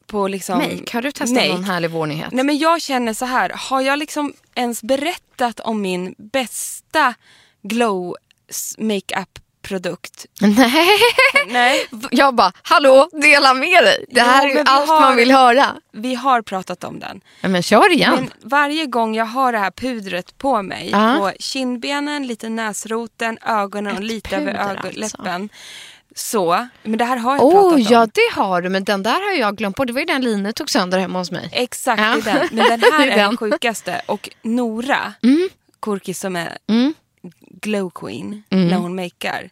[SPEAKER 2] på liksom...
[SPEAKER 1] Make, har du testat
[SPEAKER 2] make.
[SPEAKER 1] någon härlig vår nyhet?
[SPEAKER 2] Nej men jag känner så här, har jag liksom ens berättat om min bästa glow s- makeup produkt?
[SPEAKER 1] Nej.
[SPEAKER 2] Nej.
[SPEAKER 1] Jag bara, hallå, dela med dig. Det
[SPEAKER 2] Jo,
[SPEAKER 1] här är ju
[SPEAKER 2] men vi
[SPEAKER 1] allt
[SPEAKER 2] har-
[SPEAKER 1] man vill höra.
[SPEAKER 2] Vi har pratat om den.
[SPEAKER 1] Ja, Men kör igen.
[SPEAKER 2] Men varje gång jag har det här pudret på mig,
[SPEAKER 1] Ja.
[SPEAKER 2] på kindbenen, lite näsroten, ögonen och
[SPEAKER 1] Ett
[SPEAKER 2] lite
[SPEAKER 1] puder
[SPEAKER 2] över
[SPEAKER 1] alltså.
[SPEAKER 2] ögonläppen. Så, men det här har jag pratat
[SPEAKER 1] Oh,
[SPEAKER 2] om.
[SPEAKER 1] ja det har du, men den där har jag glömt bort. Det var ju den Line tog sönder hemma hos mig.
[SPEAKER 2] Exakt,
[SPEAKER 1] Ja.
[SPEAKER 2] det är den. Men den här
[SPEAKER 1] Det är
[SPEAKER 2] är den
[SPEAKER 1] den. Mm.
[SPEAKER 2] sjukaste. Och Nora Kurki som är glow queen
[SPEAKER 1] Mm.
[SPEAKER 2] när hon makear.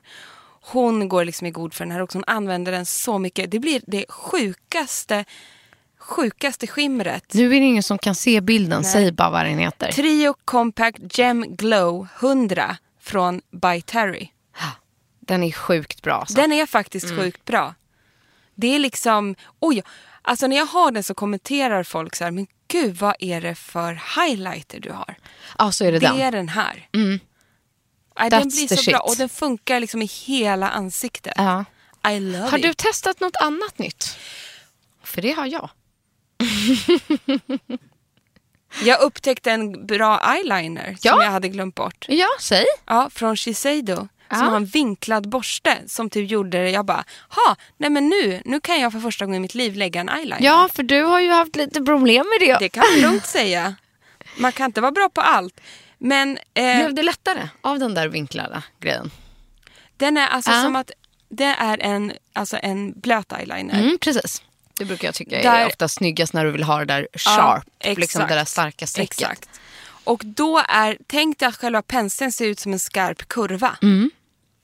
[SPEAKER 2] Hon går liksom i god för den här också. Hon använder den så mycket. Det blir det sjukaste, sjukaste skimret.
[SPEAKER 1] Nu är det ingen som kan se bilden, säg bara vad den heter.
[SPEAKER 2] Trio Compact Gem Glow 100 från By Terry.
[SPEAKER 1] Den är sjukt bra. Alltså.
[SPEAKER 2] Den är faktiskt sjukt bra. Det är liksom, oj, alltså när jag har den så kommenterar folk så här, men gud vad är det för highlighter du har?
[SPEAKER 1] Ja, så är det,
[SPEAKER 2] Det
[SPEAKER 1] den. Mm.
[SPEAKER 2] är den här. Aj, den
[SPEAKER 1] That's
[SPEAKER 2] blir
[SPEAKER 1] the
[SPEAKER 2] så bra
[SPEAKER 1] shit.
[SPEAKER 2] och den funkar liksom i hela ansiktet.
[SPEAKER 1] Ja.
[SPEAKER 2] I love
[SPEAKER 1] Har du
[SPEAKER 2] it.
[SPEAKER 1] testat något annat nytt? För det har jag.
[SPEAKER 2] Jag upptäckte en bra eyeliner som
[SPEAKER 1] Ja.
[SPEAKER 2] jag hade glömt bort.
[SPEAKER 1] Ja, säg.
[SPEAKER 2] Ja, från Shiseido.
[SPEAKER 1] Ja.
[SPEAKER 2] Som har en vinklad borste som typ gjorde det. Jag bara, ha, nej men nu, nu kan jag för första gången i mitt liv lägga en eyeliner.
[SPEAKER 1] Ja, för du har ju haft lite problem med det.
[SPEAKER 2] Det kan man lugnt säga. Man kan inte vara bra på allt. Men eh,
[SPEAKER 1] Blev det lättare av den där vinklade grejen?
[SPEAKER 2] den är alltså
[SPEAKER 1] Ja.
[SPEAKER 2] som att det är en, alltså en blöt eyeliner.
[SPEAKER 1] Mm, precis. Det brukar jag tycka är
[SPEAKER 2] Där-
[SPEAKER 1] ofta snyggast när du vill ha det där
[SPEAKER 2] Ja,
[SPEAKER 1] sharp,
[SPEAKER 2] exakt.
[SPEAKER 1] liksom det där starka strecket.
[SPEAKER 2] Exakt. Och då är, tänk dig att själva penseln ser ut som en skarp kurva
[SPEAKER 1] Mm.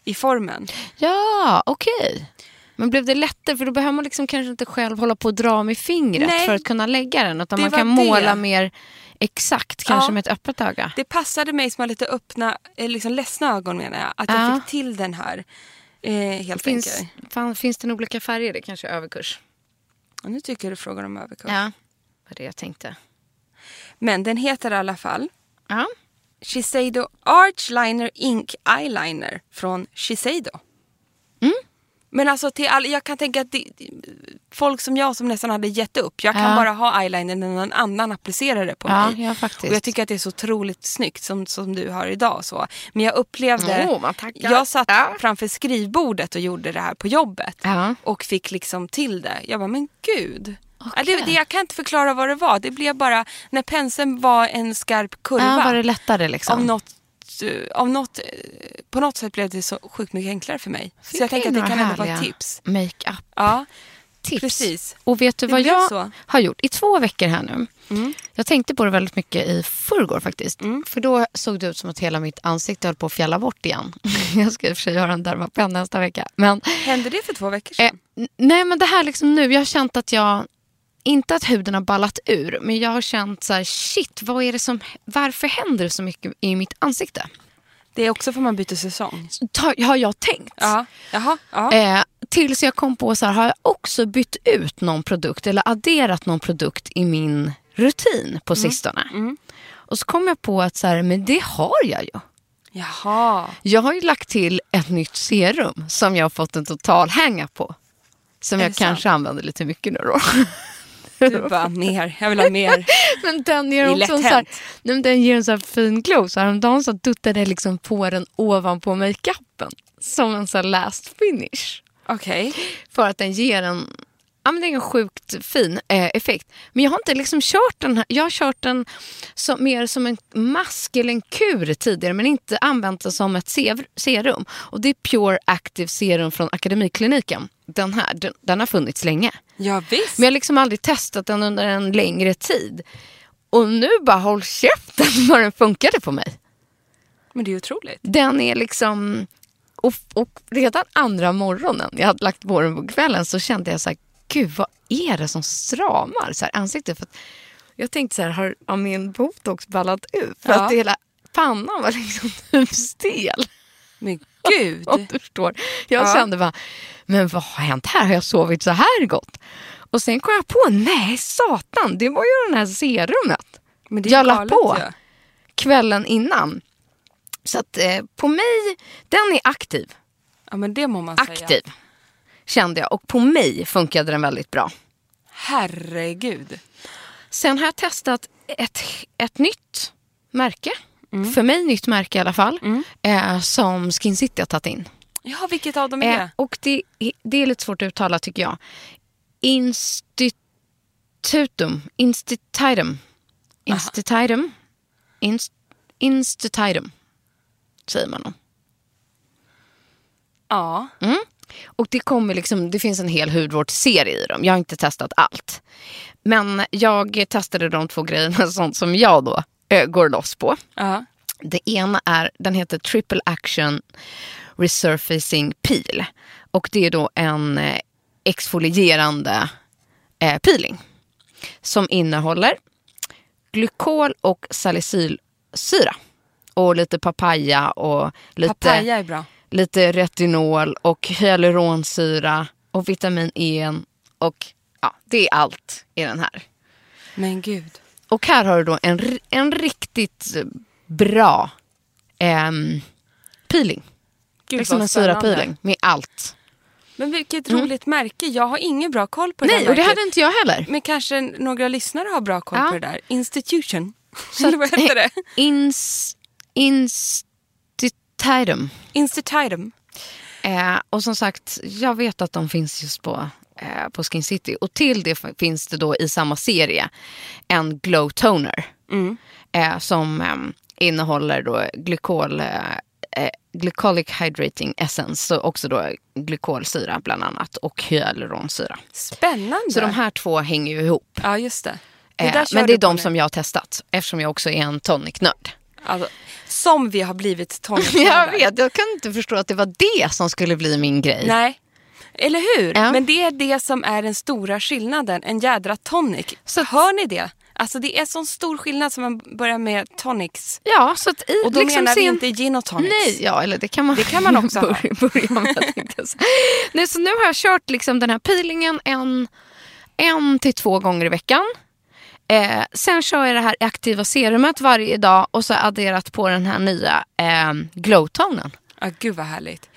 [SPEAKER 2] i formen.
[SPEAKER 1] Ja, okej. Men blev det lättare? För då behöver man liksom kanske inte själv hålla på och dra med fingret
[SPEAKER 2] Nej.
[SPEAKER 1] för att kunna lägga den. Utan
[SPEAKER 2] Det
[SPEAKER 1] man
[SPEAKER 2] var
[SPEAKER 1] kan
[SPEAKER 2] det.
[SPEAKER 1] måla mer exakt, kanske
[SPEAKER 2] Ja.
[SPEAKER 1] med ett öppet öga.
[SPEAKER 2] Det passade mig som har lite öppna, eh, liksom ledsna ögon menar jag, att jag
[SPEAKER 1] Ja.
[SPEAKER 2] fick till den här. Eh, helt
[SPEAKER 1] Finns,
[SPEAKER 2] enkelt.
[SPEAKER 1] fan, finns det nog olika färger? Det kanske är överkurs.
[SPEAKER 2] Och nu tycker jag du frågar om överkurs.
[SPEAKER 1] Ja, vad det jag tänkte.
[SPEAKER 2] Men den heter i alla fall
[SPEAKER 1] Ja.
[SPEAKER 2] Shiseido Arch Liner Ink Eyeliner från Shiseido.
[SPEAKER 1] Mm.
[SPEAKER 2] Men alltså till all, jag kan tänka att det, folk som jag som nästan hade gett upp. Jag kan
[SPEAKER 1] Ja.
[SPEAKER 2] bara ha eyeliner när någon annan applicerar det på
[SPEAKER 1] Ja,
[SPEAKER 2] mig.
[SPEAKER 1] ja, faktiskt.
[SPEAKER 2] Och jag tycker att det är så otroligt snyggt som, som du har idag. Så. Men jag upplevde,
[SPEAKER 1] Åh, man tackar.
[SPEAKER 2] jag satt
[SPEAKER 1] Ja.
[SPEAKER 2] framför skrivbordet och gjorde det här på jobbet.
[SPEAKER 1] Ja.
[SPEAKER 2] Och fick liksom till det. Jag bara, men gud. Ja, Det,
[SPEAKER 1] Okej.
[SPEAKER 2] det, jag kan inte förklara vad det var. Det blev bara, när penseln var en skarp kurva
[SPEAKER 1] Ja, var det lättare liksom?
[SPEAKER 2] av något, eh, av något, eh, på något sätt blev det så sjukt mycket enklare för mig.
[SPEAKER 1] Fick
[SPEAKER 2] så jag tänker att
[SPEAKER 1] vi
[SPEAKER 2] det kan
[SPEAKER 1] några
[SPEAKER 2] ändå vara ett
[SPEAKER 1] härliga
[SPEAKER 2] tips.
[SPEAKER 1] Make-up.
[SPEAKER 2] Ja,
[SPEAKER 1] tips.
[SPEAKER 2] Precis.
[SPEAKER 1] Och vet du
[SPEAKER 2] Det
[SPEAKER 1] vad
[SPEAKER 2] blev
[SPEAKER 1] jag
[SPEAKER 2] så. Mm.
[SPEAKER 1] har gjort i två veckor här nu? Jag tänkte på det väldigt mycket i förrgår faktiskt. För då såg det ut som att hela mitt ansikte höll på att fjälla bort igen. jag ska i och för sig göra en dermapen nästa vecka. Men,
[SPEAKER 2] hände det för två veckor
[SPEAKER 1] eh,
[SPEAKER 2] sedan?
[SPEAKER 1] n- nej men det här liksom nu, jag har känt att jag, inte att huden har ballat ur, men jag har känt så här, shit, vad är det som, varför händer det så mycket i mitt ansikte?
[SPEAKER 2] Det är också för man byter säsong.
[SPEAKER 1] Ta, har jag tänkt.
[SPEAKER 2] Ja, jaha. Ja.
[SPEAKER 1] Eh, tills jag kom på så här, har jag också bytt ut någon produkt eller adderat någon produkt i min rutin på sistone? Och så kom jag på att så här, men det har jag ju.
[SPEAKER 2] Jaha.
[SPEAKER 1] Jag har ju lagt till ett nytt serum som jag har fått en total hänga på. Som
[SPEAKER 2] Är
[SPEAKER 1] jag
[SPEAKER 2] det
[SPEAKER 1] kanske använder lite mycket nu då.
[SPEAKER 2] Du bara, mer. Jag vill ha mer.
[SPEAKER 1] Men den
[SPEAKER 2] Det
[SPEAKER 1] ger
[SPEAKER 2] är
[SPEAKER 1] också en
[SPEAKER 2] lätt
[SPEAKER 1] så, här,
[SPEAKER 2] hänt.
[SPEAKER 1] nej, men den ger en så här fin glow. Så häromdagen så duttade jag liksom på den ovanpå makeupen. Som en så här last finish.
[SPEAKER 2] Okej.
[SPEAKER 1] för att den ger en Ja, men det är en sjukt fin eh, effekt. Men jag har inte liksom kört den här. Jag har kört den som, mer som en mask eller en kur tidigare men inte använt den som ett sev- serum. Och Det är Pure Active Serum från Akademikliniken. Den här den, den har funnits länge.
[SPEAKER 2] Ja, visst.
[SPEAKER 1] Men jag har liksom aldrig testat den under en längre tid. Och nu bara håll käften vad den funkade på mig.
[SPEAKER 2] Men det är otroligt.
[SPEAKER 1] Den är liksom Och, och redan andra morgonen, jag hade lagt på den på kvällen, så kände jag så här, gud vad är det som stramar så här, ansiktet? För att jag tänkte så här, har, har min botox ballat ut? För
[SPEAKER 2] Ja.
[SPEAKER 1] att hela pannan var liksom typ stel.
[SPEAKER 2] Men gud.
[SPEAKER 1] Om du förstår. Jag
[SPEAKER 2] Ja.
[SPEAKER 1] kände bara, men vad har hänt här? Har jag sovit så här gott? Och sen kom jag på, nej satan, det var ju det här serumet
[SPEAKER 2] Men det är
[SPEAKER 1] Jag la
[SPEAKER 2] galet
[SPEAKER 1] på.
[SPEAKER 2] ju.
[SPEAKER 1] kvällen innan. Så att eh, på mig, den är aktiv.
[SPEAKER 2] Ja men det må man säga.
[SPEAKER 1] Aktiv. Kände jag. Och på mig funkade den väldigt bra.
[SPEAKER 2] Herregud.
[SPEAKER 1] Sen har jag testat ett, ett nytt märke.
[SPEAKER 2] Mm.
[SPEAKER 1] För mig nytt märke i alla fall. Eh, som Skin City har tagit in.
[SPEAKER 2] Ja vilket av dem är
[SPEAKER 1] Eh,
[SPEAKER 2] det?
[SPEAKER 1] och det, det är lite svårt att uttala tycker jag. Institutum. Institutum. Institutum. Inst, institutum. Säger man om.
[SPEAKER 2] Ja.
[SPEAKER 1] Och det kommer liksom, det finns en hel hudvårdsserie i dem. Jag har inte testat allt. Men jag testade de två grejerna, sånt som jag då eh, går loss på.
[SPEAKER 2] ja.
[SPEAKER 1] Det ena är, den heter Triple Action Resurfacing Peel. Och det är då en eh, exfolierande eh, peeling. Som innehåller glykol och salicylsyra. Och lite papaya och lite
[SPEAKER 2] Papaya är bra.
[SPEAKER 1] lite retinol och hyaluronsyra och vitamin E. Och ja, det är allt i den här.
[SPEAKER 2] Men gud.
[SPEAKER 1] Och här har du då en, ri- en riktigt bra ehm, peeling.
[SPEAKER 2] gud
[SPEAKER 1] liksom
[SPEAKER 2] vad
[SPEAKER 1] en
[SPEAKER 2] spännande.
[SPEAKER 1] syrapeeling med allt.
[SPEAKER 2] Men vilket roligt märke. Jag har ingen bra koll på det
[SPEAKER 1] Mm. Nej,
[SPEAKER 2] här
[SPEAKER 1] och det
[SPEAKER 2] märket.
[SPEAKER 1] hade inte jag heller.
[SPEAKER 2] Men kanske några lyssnare har bra koll
[SPEAKER 1] Ja.
[SPEAKER 2] på det där. Institution. Eller vad heter det?
[SPEAKER 1] eh, Ins, institutum.
[SPEAKER 2] Institutum.
[SPEAKER 1] Eh, och som sagt, jag vet att de finns just på, eh, på Skin City. Och till det f- finns det då i samma serie en glow toner.
[SPEAKER 2] Mm.
[SPEAKER 1] Eh, som ehm, innehåller då glykol, eh, eh, glycolic hydrating essence. Så också då glykolsyra bland annat och hyaluronsyra.
[SPEAKER 2] Spännande.
[SPEAKER 1] Så de här två hänger ju ihop.
[SPEAKER 2] Ja just det. det
[SPEAKER 1] Eh,
[SPEAKER 2] där kör
[SPEAKER 1] men det
[SPEAKER 2] du
[SPEAKER 1] är
[SPEAKER 2] på
[SPEAKER 1] de
[SPEAKER 2] nu.
[SPEAKER 1] som jag har testat. Eftersom jag också är en tonicnörd.
[SPEAKER 2] Alltså, som vi har blivit
[SPEAKER 1] Jag
[SPEAKER 2] tonårsföräldrar.
[SPEAKER 1] vet, jag kan inte förstå att det var det som skulle bli min grej.
[SPEAKER 2] Nej. Eller hur?
[SPEAKER 1] Ja.
[SPEAKER 2] Men det är det som är den stora skillnaden. En jädra tonic.
[SPEAKER 1] Så-
[SPEAKER 2] Hör ni det? Alltså det är sån stor skillnad som man börjar med tonics.
[SPEAKER 1] Ja, så att i
[SPEAKER 2] Och då
[SPEAKER 1] liksom
[SPEAKER 2] menar vi
[SPEAKER 1] sin-
[SPEAKER 2] inte gin och tonics.
[SPEAKER 1] Nej, ja, eller det kan man,
[SPEAKER 2] Det kan man också ha.
[SPEAKER 1] börja, börja med. tänkte jag säga. Nej, så nu har jag kört liksom den här peelingen en, en till två gånger i veckan. Eh, sen kör jag det här aktiva serumet varje dag och så adderat på den här nya eh, glowtonen.
[SPEAKER 2] Ja, Ah, gud vad härligt.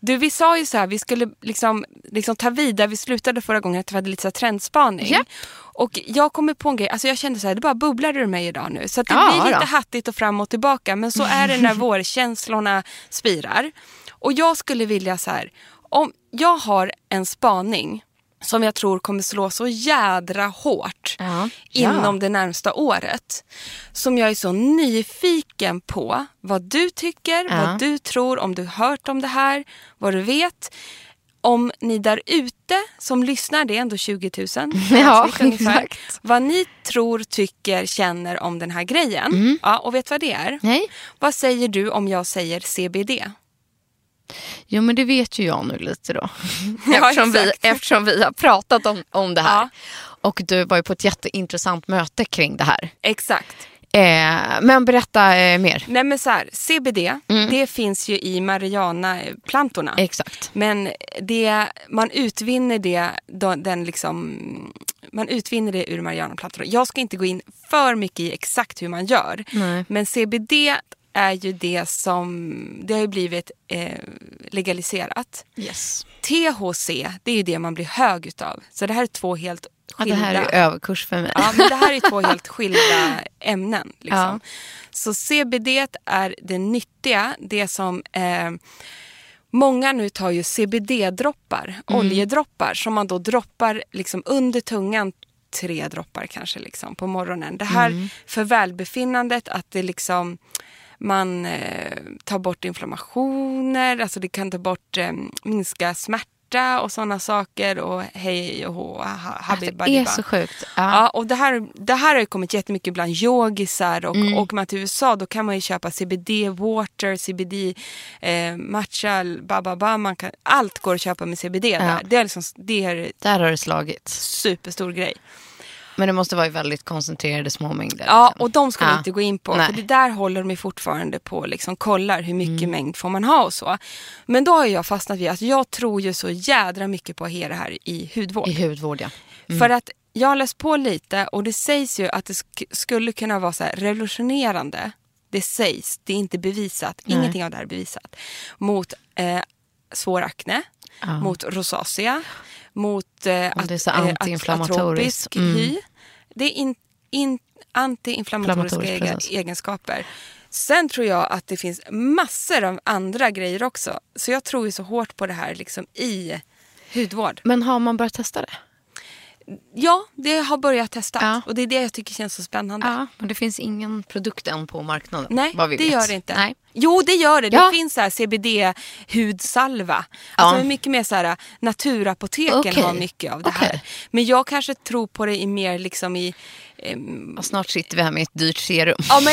[SPEAKER 2] Du, vi sa ju så här, vi skulle liksom, liksom ta vid där vi slutade förra gången, att vi hade lite så här trendspaning.
[SPEAKER 1] Japp.
[SPEAKER 2] Och jag kommer på en grej, alltså jag kände så här, det bara bubblar ur mig idag nu. Så att det
[SPEAKER 1] Ja,
[SPEAKER 2] blir lite
[SPEAKER 1] då.
[SPEAKER 2] hattigt och fram och tillbaka, men så är det när
[SPEAKER 1] Mm.
[SPEAKER 2] vårkänslorna spirar. Och jag skulle vilja så här, om jag har en spaning som jag tror kommer slå så jädra hårt
[SPEAKER 1] Ja.
[SPEAKER 2] inom det närmsta året. Som jag är så nyfiken på vad du tycker,
[SPEAKER 1] Ja.
[SPEAKER 2] vad du tror, om du hört om det här, vad du vet. Om ni där ute som lyssnar, det är ändå 20 000
[SPEAKER 1] Ja,
[SPEAKER 2] avsnitt ungefär,
[SPEAKER 1] exakt.
[SPEAKER 2] Vad ni tror, tycker, känner om den här grejen. Mm. Ja, och vet du vad det är?
[SPEAKER 1] Nej,
[SPEAKER 2] Vad säger du om jag säger CBD?
[SPEAKER 1] jo men det vet ju jag nu lite då.
[SPEAKER 2] Ja,
[SPEAKER 1] Eftersom, vi,
[SPEAKER 2] exakt.
[SPEAKER 1] eftersom vi har pratat om, om det här.
[SPEAKER 2] Ja.
[SPEAKER 1] Och du var ju på ett jätteintressant möte kring det här.
[SPEAKER 2] Exakt.
[SPEAKER 1] Eh, men berätta eh, mer.
[SPEAKER 2] Nej men så här, CBD, det finns ju i marijuana-plantorna.
[SPEAKER 1] Exakt.
[SPEAKER 2] Men det, man utvinner det, då- den liksom, man utvinner det ur marijuanaplantor. Jag ska inte gå in för mycket i exakt hur man gör.
[SPEAKER 1] Nej.
[SPEAKER 2] Men CBD är ju det som, det har ju blivit eh, legaliserat.
[SPEAKER 1] Yes.
[SPEAKER 2] THC, det är ju det man blir hög utav. Så det här är två helt
[SPEAKER 1] Ja,
[SPEAKER 2] skilda.
[SPEAKER 1] det här är överkurs för mig.
[SPEAKER 2] Ja, men det här är två helt skilda ämnen. Liksom.
[SPEAKER 1] Ja.
[SPEAKER 2] Så CBD är det nyttiga, det som eh, Många nu tar ju CBD-droppar, oljedroppar, som man då droppar liksom under tungan tre droppar kanske liksom på morgonen. Det här för välbefinnandet, att det liksom man eh, tar bort inflammationer, alltså det kan ta bort, eh, minska smärta smärta och sådana saker och hej och hå, ha- habibba.
[SPEAKER 1] Alltså, det är
[SPEAKER 2] dibba.
[SPEAKER 1] så sjukt.
[SPEAKER 2] Ja.
[SPEAKER 1] Ja.
[SPEAKER 2] och det här, det här har ju kommit jättemycket bland yogisar och
[SPEAKER 1] Mm.
[SPEAKER 2] åker man till USA då kan man ju köpa CBD water, CBD eh, matcha, bababa, man kan, allt går att köpa med CBD där. Det är, liksom, det är en
[SPEAKER 1] Där har det slagit.
[SPEAKER 2] superstor grej.
[SPEAKER 1] Men det måste vara i väldigt koncentrerade små mängder.
[SPEAKER 2] Ja,
[SPEAKER 1] liksom.
[SPEAKER 2] och de ska vi
[SPEAKER 1] Ja.
[SPEAKER 2] inte gå in på.
[SPEAKER 1] Nej.
[SPEAKER 2] För det där håller de ju fortfarande på och liksom kollar hur mycket
[SPEAKER 1] Mm.
[SPEAKER 2] mängd får man ha och så. Men då har jag fastnat vid att jag tror ju så jädra mycket på att ha det här i hudvård.
[SPEAKER 1] I hudvård, ja.
[SPEAKER 2] För att jag har läst på lite och det sägs ju att det sk- skulle kunna vara så här revolutionerande. Det sägs, det är inte bevisat, ingenting av det här är bevisat. Mot eh, svår akne, mot rosacea, mot eh,
[SPEAKER 1] Och det är
[SPEAKER 2] at-
[SPEAKER 1] så
[SPEAKER 2] eh, at-
[SPEAKER 1] antiinflammatoriskt.
[SPEAKER 2] atopisk
[SPEAKER 1] Mm.
[SPEAKER 2] hy. Det är in, in, antiinflammatoriska
[SPEAKER 1] Inflammatoriskt,
[SPEAKER 2] egen-
[SPEAKER 1] precis.
[SPEAKER 2] egenskaper. Sen tror jag att det finns massor av andra grejer också. Så jag tror ju så hårt på det här liksom i hudvård.
[SPEAKER 1] Men har man börjat testa det?
[SPEAKER 2] Ja, det har börjat testas.
[SPEAKER 1] Ja.
[SPEAKER 2] Och det är det jag tycker känns så spännande.
[SPEAKER 1] Ja, men det finns ingen produkt än på marknaden.
[SPEAKER 2] Nej,
[SPEAKER 1] vad vi
[SPEAKER 2] det
[SPEAKER 1] vet.
[SPEAKER 2] gör det inte.
[SPEAKER 1] Nej.
[SPEAKER 2] Jo, det gör det.
[SPEAKER 1] Ja.
[SPEAKER 2] Det finns så här CBD-hudsalva. Alltså
[SPEAKER 1] Ja.
[SPEAKER 2] det är mycket mer så här, naturapoteken
[SPEAKER 1] Okej.
[SPEAKER 2] har mycket av det här.
[SPEAKER 1] Okej.
[SPEAKER 2] Men jag kanske tror på det i mer liksom i... ehm,
[SPEAKER 1] Och snart sitter vi här med ett dyrt serum.
[SPEAKER 2] ja, men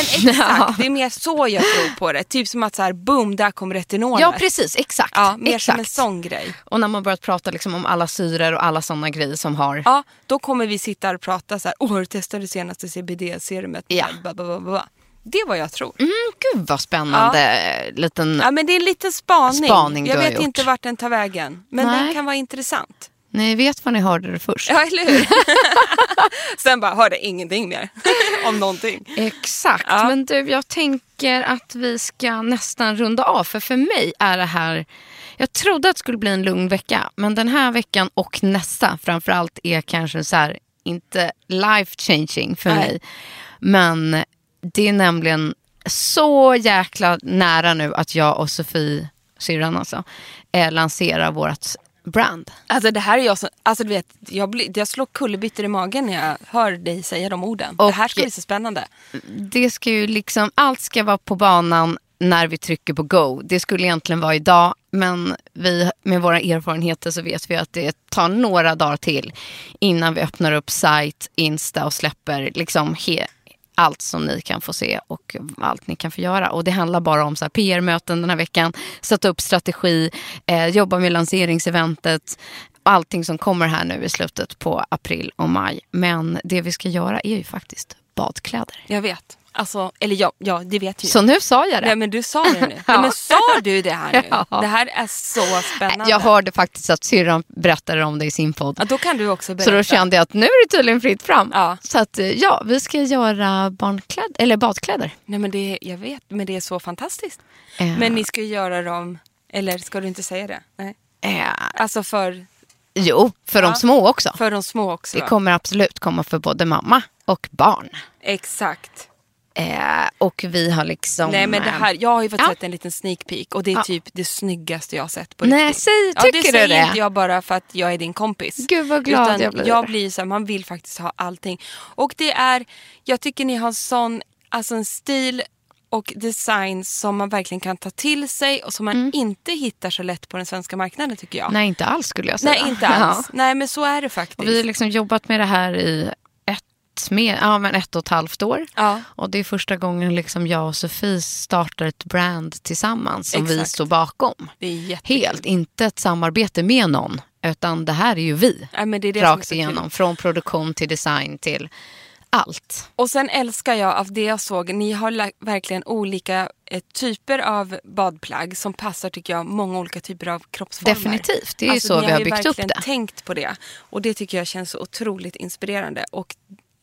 [SPEAKER 2] exakt. Det är mer så jag tror på det. Typ som att så här, boom, där kom retinoler.
[SPEAKER 1] Ja, precis. Exakt.
[SPEAKER 2] Ja, mer som en
[SPEAKER 1] exakt.
[SPEAKER 2] sån grej.
[SPEAKER 1] Och när man börjat prata liksom om alla syror och alla sådana grejer som har...
[SPEAKER 2] Ja, då kommer vi sitta här och prata så här, åh, har du testat det senaste CBD-serumet?
[SPEAKER 1] Ja.
[SPEAKER 2] Ba, ba, ba, ba, ba. Det är vad jag tror.
[SPEAKER 1] Mm, gud vad spännande eh, liten...
[SPEAKER 2] Ja, men det är en liten spaning.
[SPEAKER 1] Spaning du
[SPEAKER 2] jag
[SPEAKER 1] har
[SPEAKER 2] vet
[SPEAKER 1] gjort.
[SPEAKER 2] inte vart den tar vägen. Men
[SPEAKER 1] Nej.
[SPEAKER 2] den kan vara intressant.
[SPEAKER 1] Ni vet vad ni hörde det först.
[SPEAKER 2] Ja, eller hur? Sen bara hörde ingenting mer om någonting.
[SPEAKER 1] Exakt, men du jag tänker att vi ska nästan runda av. För för mig är det här, jag trodde att det skulle bli en lugn vecka. Men den här veckan och nästa framförallt är kanske så här, inte life changing för
[SPEAKER 2] Nej.
[SPEAKER 1] mig. Men det är nämligen så jäkla nära nu att jag och Sofie, syrran alltså, eh, lanserar vårt brand.
[SPEAKER 2] Alltså det här är jag som, alltså du vet, jag, blir, jag slår kullerbyttor i magen när jag hör dig säga de orden. det
[SPEAKER 1] Och-
[SPEAKER 2] här ska bli så spännande.
[SPEAKER 1] det ska ju liksom, allt ska vara på banan när vi trycker på go. Det skulle egentligen vara idag, men vi, med våra erfarenheter så vet vi att det tar några dagar till innan vi öppnar upp sajt, Insta och släpper liksom he- allt som ni kan få se och allt ni kan få göra. Och det handlar bara om så här PR-möten den här veckan, sätta upp strategi, eh, jobba med lanseringseventet och allting som kommer här nu i slutet på april och maj. Men det vi ska göra är ju faktiskt badkläder.
[SPEAKER 2] Jag vet. Alltså, eller ja, ja det vet ju
[SPEAKER 1] Så
[SPEAKER 2] jag.
[SPEAKER 1] nu sa jag det.
[SPEAKER 2] Typ. Nej men du sa det nu. Nej, men sa du det här nu?
[SPEAKER 1] Ja.
[SPEAKER 2] Det här är så spännande.
[SPEAKER 1] jag hörde faktiskt att syrran berättade om det i sin podd.
[SPEAKER 2] ja, då kan du också
[SPEAKER 1] Så
[SPEAKER 2] berätta.
[SPEAKER 1] då kände jag att nu är det tydligen fritt fram.
[SPEAKER 2] Ja.
[SPEAKER 1] Så att eh, ja, vi ska göra barnkläder, eller badkläder.
[SPEAKER 2] Nej men det, jag vet, men det är så fantastiskt.
[SPEAKER 1] Eh.
[SPEAKER 2] Men ni ska ju göra dem, eller ska du inte säga det? Nej.
[SPEAKER 1] Eh,
[SPEAKER 2] Alltså för,
[SPEAKER 1] jo, för
[SPEAKER 2] Ja.
[SPEAKER 1] de små också.
[SPEAKER 2] för de små också.
[SPEAKER 1] det
[SPEAKER 2] va?
[SPEAKER 1] kommer absolut komma för både mamma och barn.
[SPEAKER 2] Exakt.
[SPEAKER 1] Eh, och vi har liksom...
[SPEAKER 2] Nej men det
[SPEAKER 1] eh,
[SPEAKER 2] här, jag har ju fått
[SPEAKER 1] ja.
[SPEAKER 2] sett en liten sneak peek och det är
[SPEAKER 1] Ja.
[SPEAKER 2] typ det snyggaste jag har sett på
[SPEAKER 1] Nej,
[SPEAKER 2] riktigt.
[SPEAKER 1] säg-
[SPEAKER 2] ja,
[SPEAKER 1] tycker
[SPEAKER 2] det
[SPEAKER 1] du
[SPEAKER 2] säger
[SPEAKER 1] det?
[SPEAKER 2] inte jag bara för att jag är din kompis.
[SPEAKER 1] Gud, vad glad
[SPEAKER 2] Utan
[SPEAKER 1] jag blir.
[SPEAKER 2] Jag blir så här, man vill faktiskt ha allting. Och det är, jag tycker ni har sån, alltså en stil och design som man verkligen kan ta till sig och som man inte hittar så lätt på den svenska marknaden tycker jag.
[SPEAKER 1] Mm. Nej, inte alls skulle jag säga.
[SPEAKER 2] Nej, inte
[SPEAKER 1] Ja.
[SPEAKER 2] alls. Nej men så är det faktiskt.
[SPEAKER 1] Och vi har liksom jobbat med det här i ett, med, ja, men ett och ett halvt år.
[SPEAKER 2] Ja.
[SPEAKER 1] Och det är första gången liksom jag och Sofie startar ett brand tillsammans som vi
[SPEAKER 2] Exakt.
[SPEAKER 1] står bakom.
[SPEAKER 2] Det är jättekul.
[SPEAKER 1] Helt, inte ett samarbete med någon, utan det här är ju vi.
[SPEAKER 2] Ja, men det är det som är
[SPEAKER 1] rakt
[SPEAKER 2] så kul.
[SPEAKER 1] igenom, från produktion till design till allt.
[SPEAKER 2] Och sen älskar jag av det jag såg, ni har la- verkligen olika eh, typer av badplagg som passar tycker jag många olika typer av kroppsformer. Alltså,
[SPEAKER 1] Definitivt, det är ju så
[SPEAKER 2] ni
[SPEAKER 1] vi har byggt upp
[SPEAKER 2] ju verkligen
[SPEAKER 1] det.
[SPEAKER 2] tänkt på det och det tycker jag känns så otroligt inspirerande. Och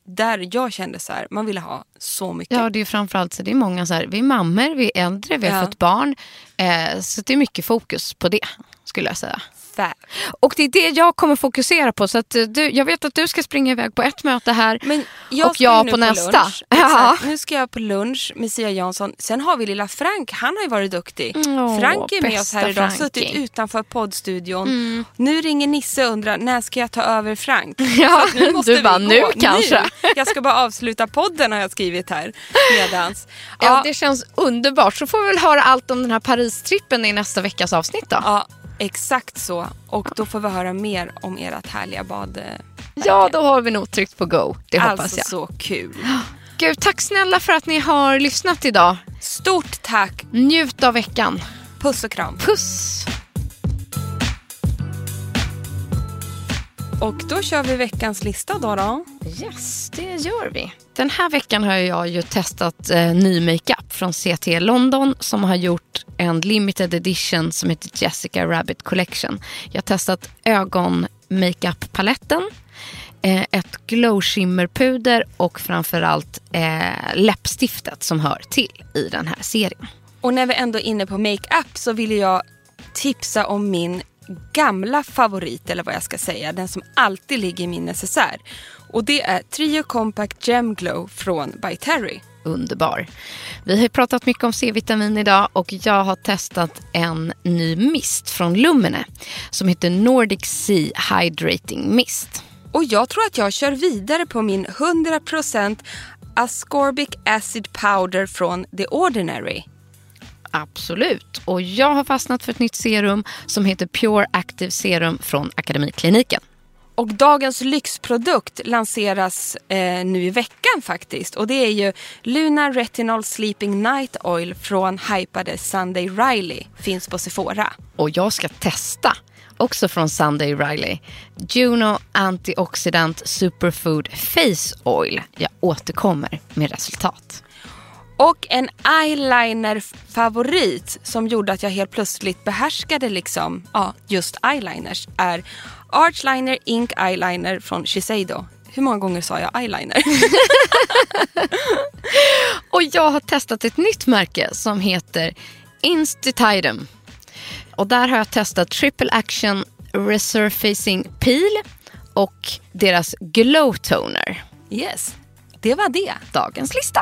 [SPEAKER 2] där jag kände så här, man ville ha så mycket.
[SPEAKER 1] Ja, det är framförallt så det är många så här, vi är mammor, vi är äldre, vi har
[SPEAKER 2] Ja.
[SPEAKER 1] fått barn. Eh, så det är mycket fokus på det, skulle jag säga.
[SPEAKER 2] Fab.
[SPEAKER 1] Och det är det jag kommer fokusera på. Så att eh, du, jag vet att du ska springa iväg på ett möte här
[SPEAKER 2] Men jag
[SPEAKER 1] och
[SPEAKER 2] ska ju
[SPEAKER 1] jag
[SPEAKER 2] nu
[SPEAKER 1] på, nästa.
[SPEAKER 2] Lunch.
[SPEAKER 1] Ja.
[SPEAKER 2] Exakt. Nu ska jag på lunch med Sia Jansson. Sen har vi lilla Frank, han har ju varit duktig.
[SPEAKER 1] Mm, Åh,
[SPEAKER 2] Frank är med oss
[SPEAKER 1] bästa
[SPEAKER 2] här idag,
[SPEAKER 1] Frankie. Mm.
[SPEAKER 2] suttit utanför poddstudion. Nu ringer Nisse och undrar, när ska jag ta över Frank? Så att
[SPEAKER 1] du
[SPEAKER 2] måste vi
[SPEAKER 1] bara,
[SPEAKER 2] gå.
[SPEAKER 1] nu kanske.
[SPEAKER 2] Jag ska bara avsluta podden har jag skrivit här. Medans.
[SPEAKER 1] Ja, det känns underbart. Så får vi väl höra allt om den här Paris-trippen i nästa veckas avsnitt då.
[SPEAKER 2] ja, Exakt så. Och då får vi höra mer om ert härliga bad. eh,
[SPEAKER 1] Ja, då har vi nog tryckt på go. Det hoppas
[SPEAKER 2] Alltså
[SPEAKER 1] jag.
[SPEAKER 2] så kul.
[SPEAKER 1] Gud, tack snälla för att ni har lyssnat idag.
[SPEAKER 2] Stort tack.
[SPEAKER 1] Njut av veckan.
[SPEAKER 2] Puss och kram.
[SPEAKER 1] Puss!
[SPEAKER 2] Och då kör vi veckans lista då. då.
[SPEAKER 1] Yes, det gör vi. Den här veckan har jag ju testat eh, ny makeup från CT London som har gjort en limited edition som heter Jessica Rabbit Collection. Jag har testat ögon-makeup-paletten, eh, ett glow shimmer-puder och framförallt eh, läppstiftet som hör till i den här serien.
[SPEAKER 2] Och när vi ändå är inne på makeup så vill jag tipsa om min gamla favorit eller vad jag ska säga. Den som alltid ligger i min necessär. Och det är Trio Compact Gem Glow från By Terry.
[SPEAKER 1] underbar. Vi har ju pratat mycket om C-vitamin idag och jag har testat en ny mist från Lumene som heter Nordic Sea Hydrating Mist.
[SPEAKER 2] Och jag tror att jag kör vidare på min 100% ascorbic acid powder från The Ordinary.
[SPEAKER 1] Absolut. Och jag har fastnat för ett nytt serum som heter Pure Active Serum från Akademikliniken.
[SPEAKER 2] Och dagens lyxprodukt lanseras eh, nu i veckan faktiskt. Och det är ju Luna Retinol Sleeping Night Oil från hypade Sunday Riley. Finns på Sephora.
[SPEAKER 1] Och jag ska testa, också från Sunday Riley, Juno Antioxidant Superfood Face Oil. Jag återkommer med resultat.
[SPEAKER 2] Och en eyeliner-favorit som gjorde att jag helt plötsligt behärskade liksom, ja, just eyeliners är Archliner Ink Eyeliner från Shiseido. Hur många gånger sa jag eyeliner?
[SPEAKER 1] Och jag har testat ett nytt märke som heter Institidem. Och där har jag testat Triple Action Resurfacing Peel och deras Glow Toner.
[SPEAKER 2] Yes, det var det.
[SPEAKER 1] Dagens lista.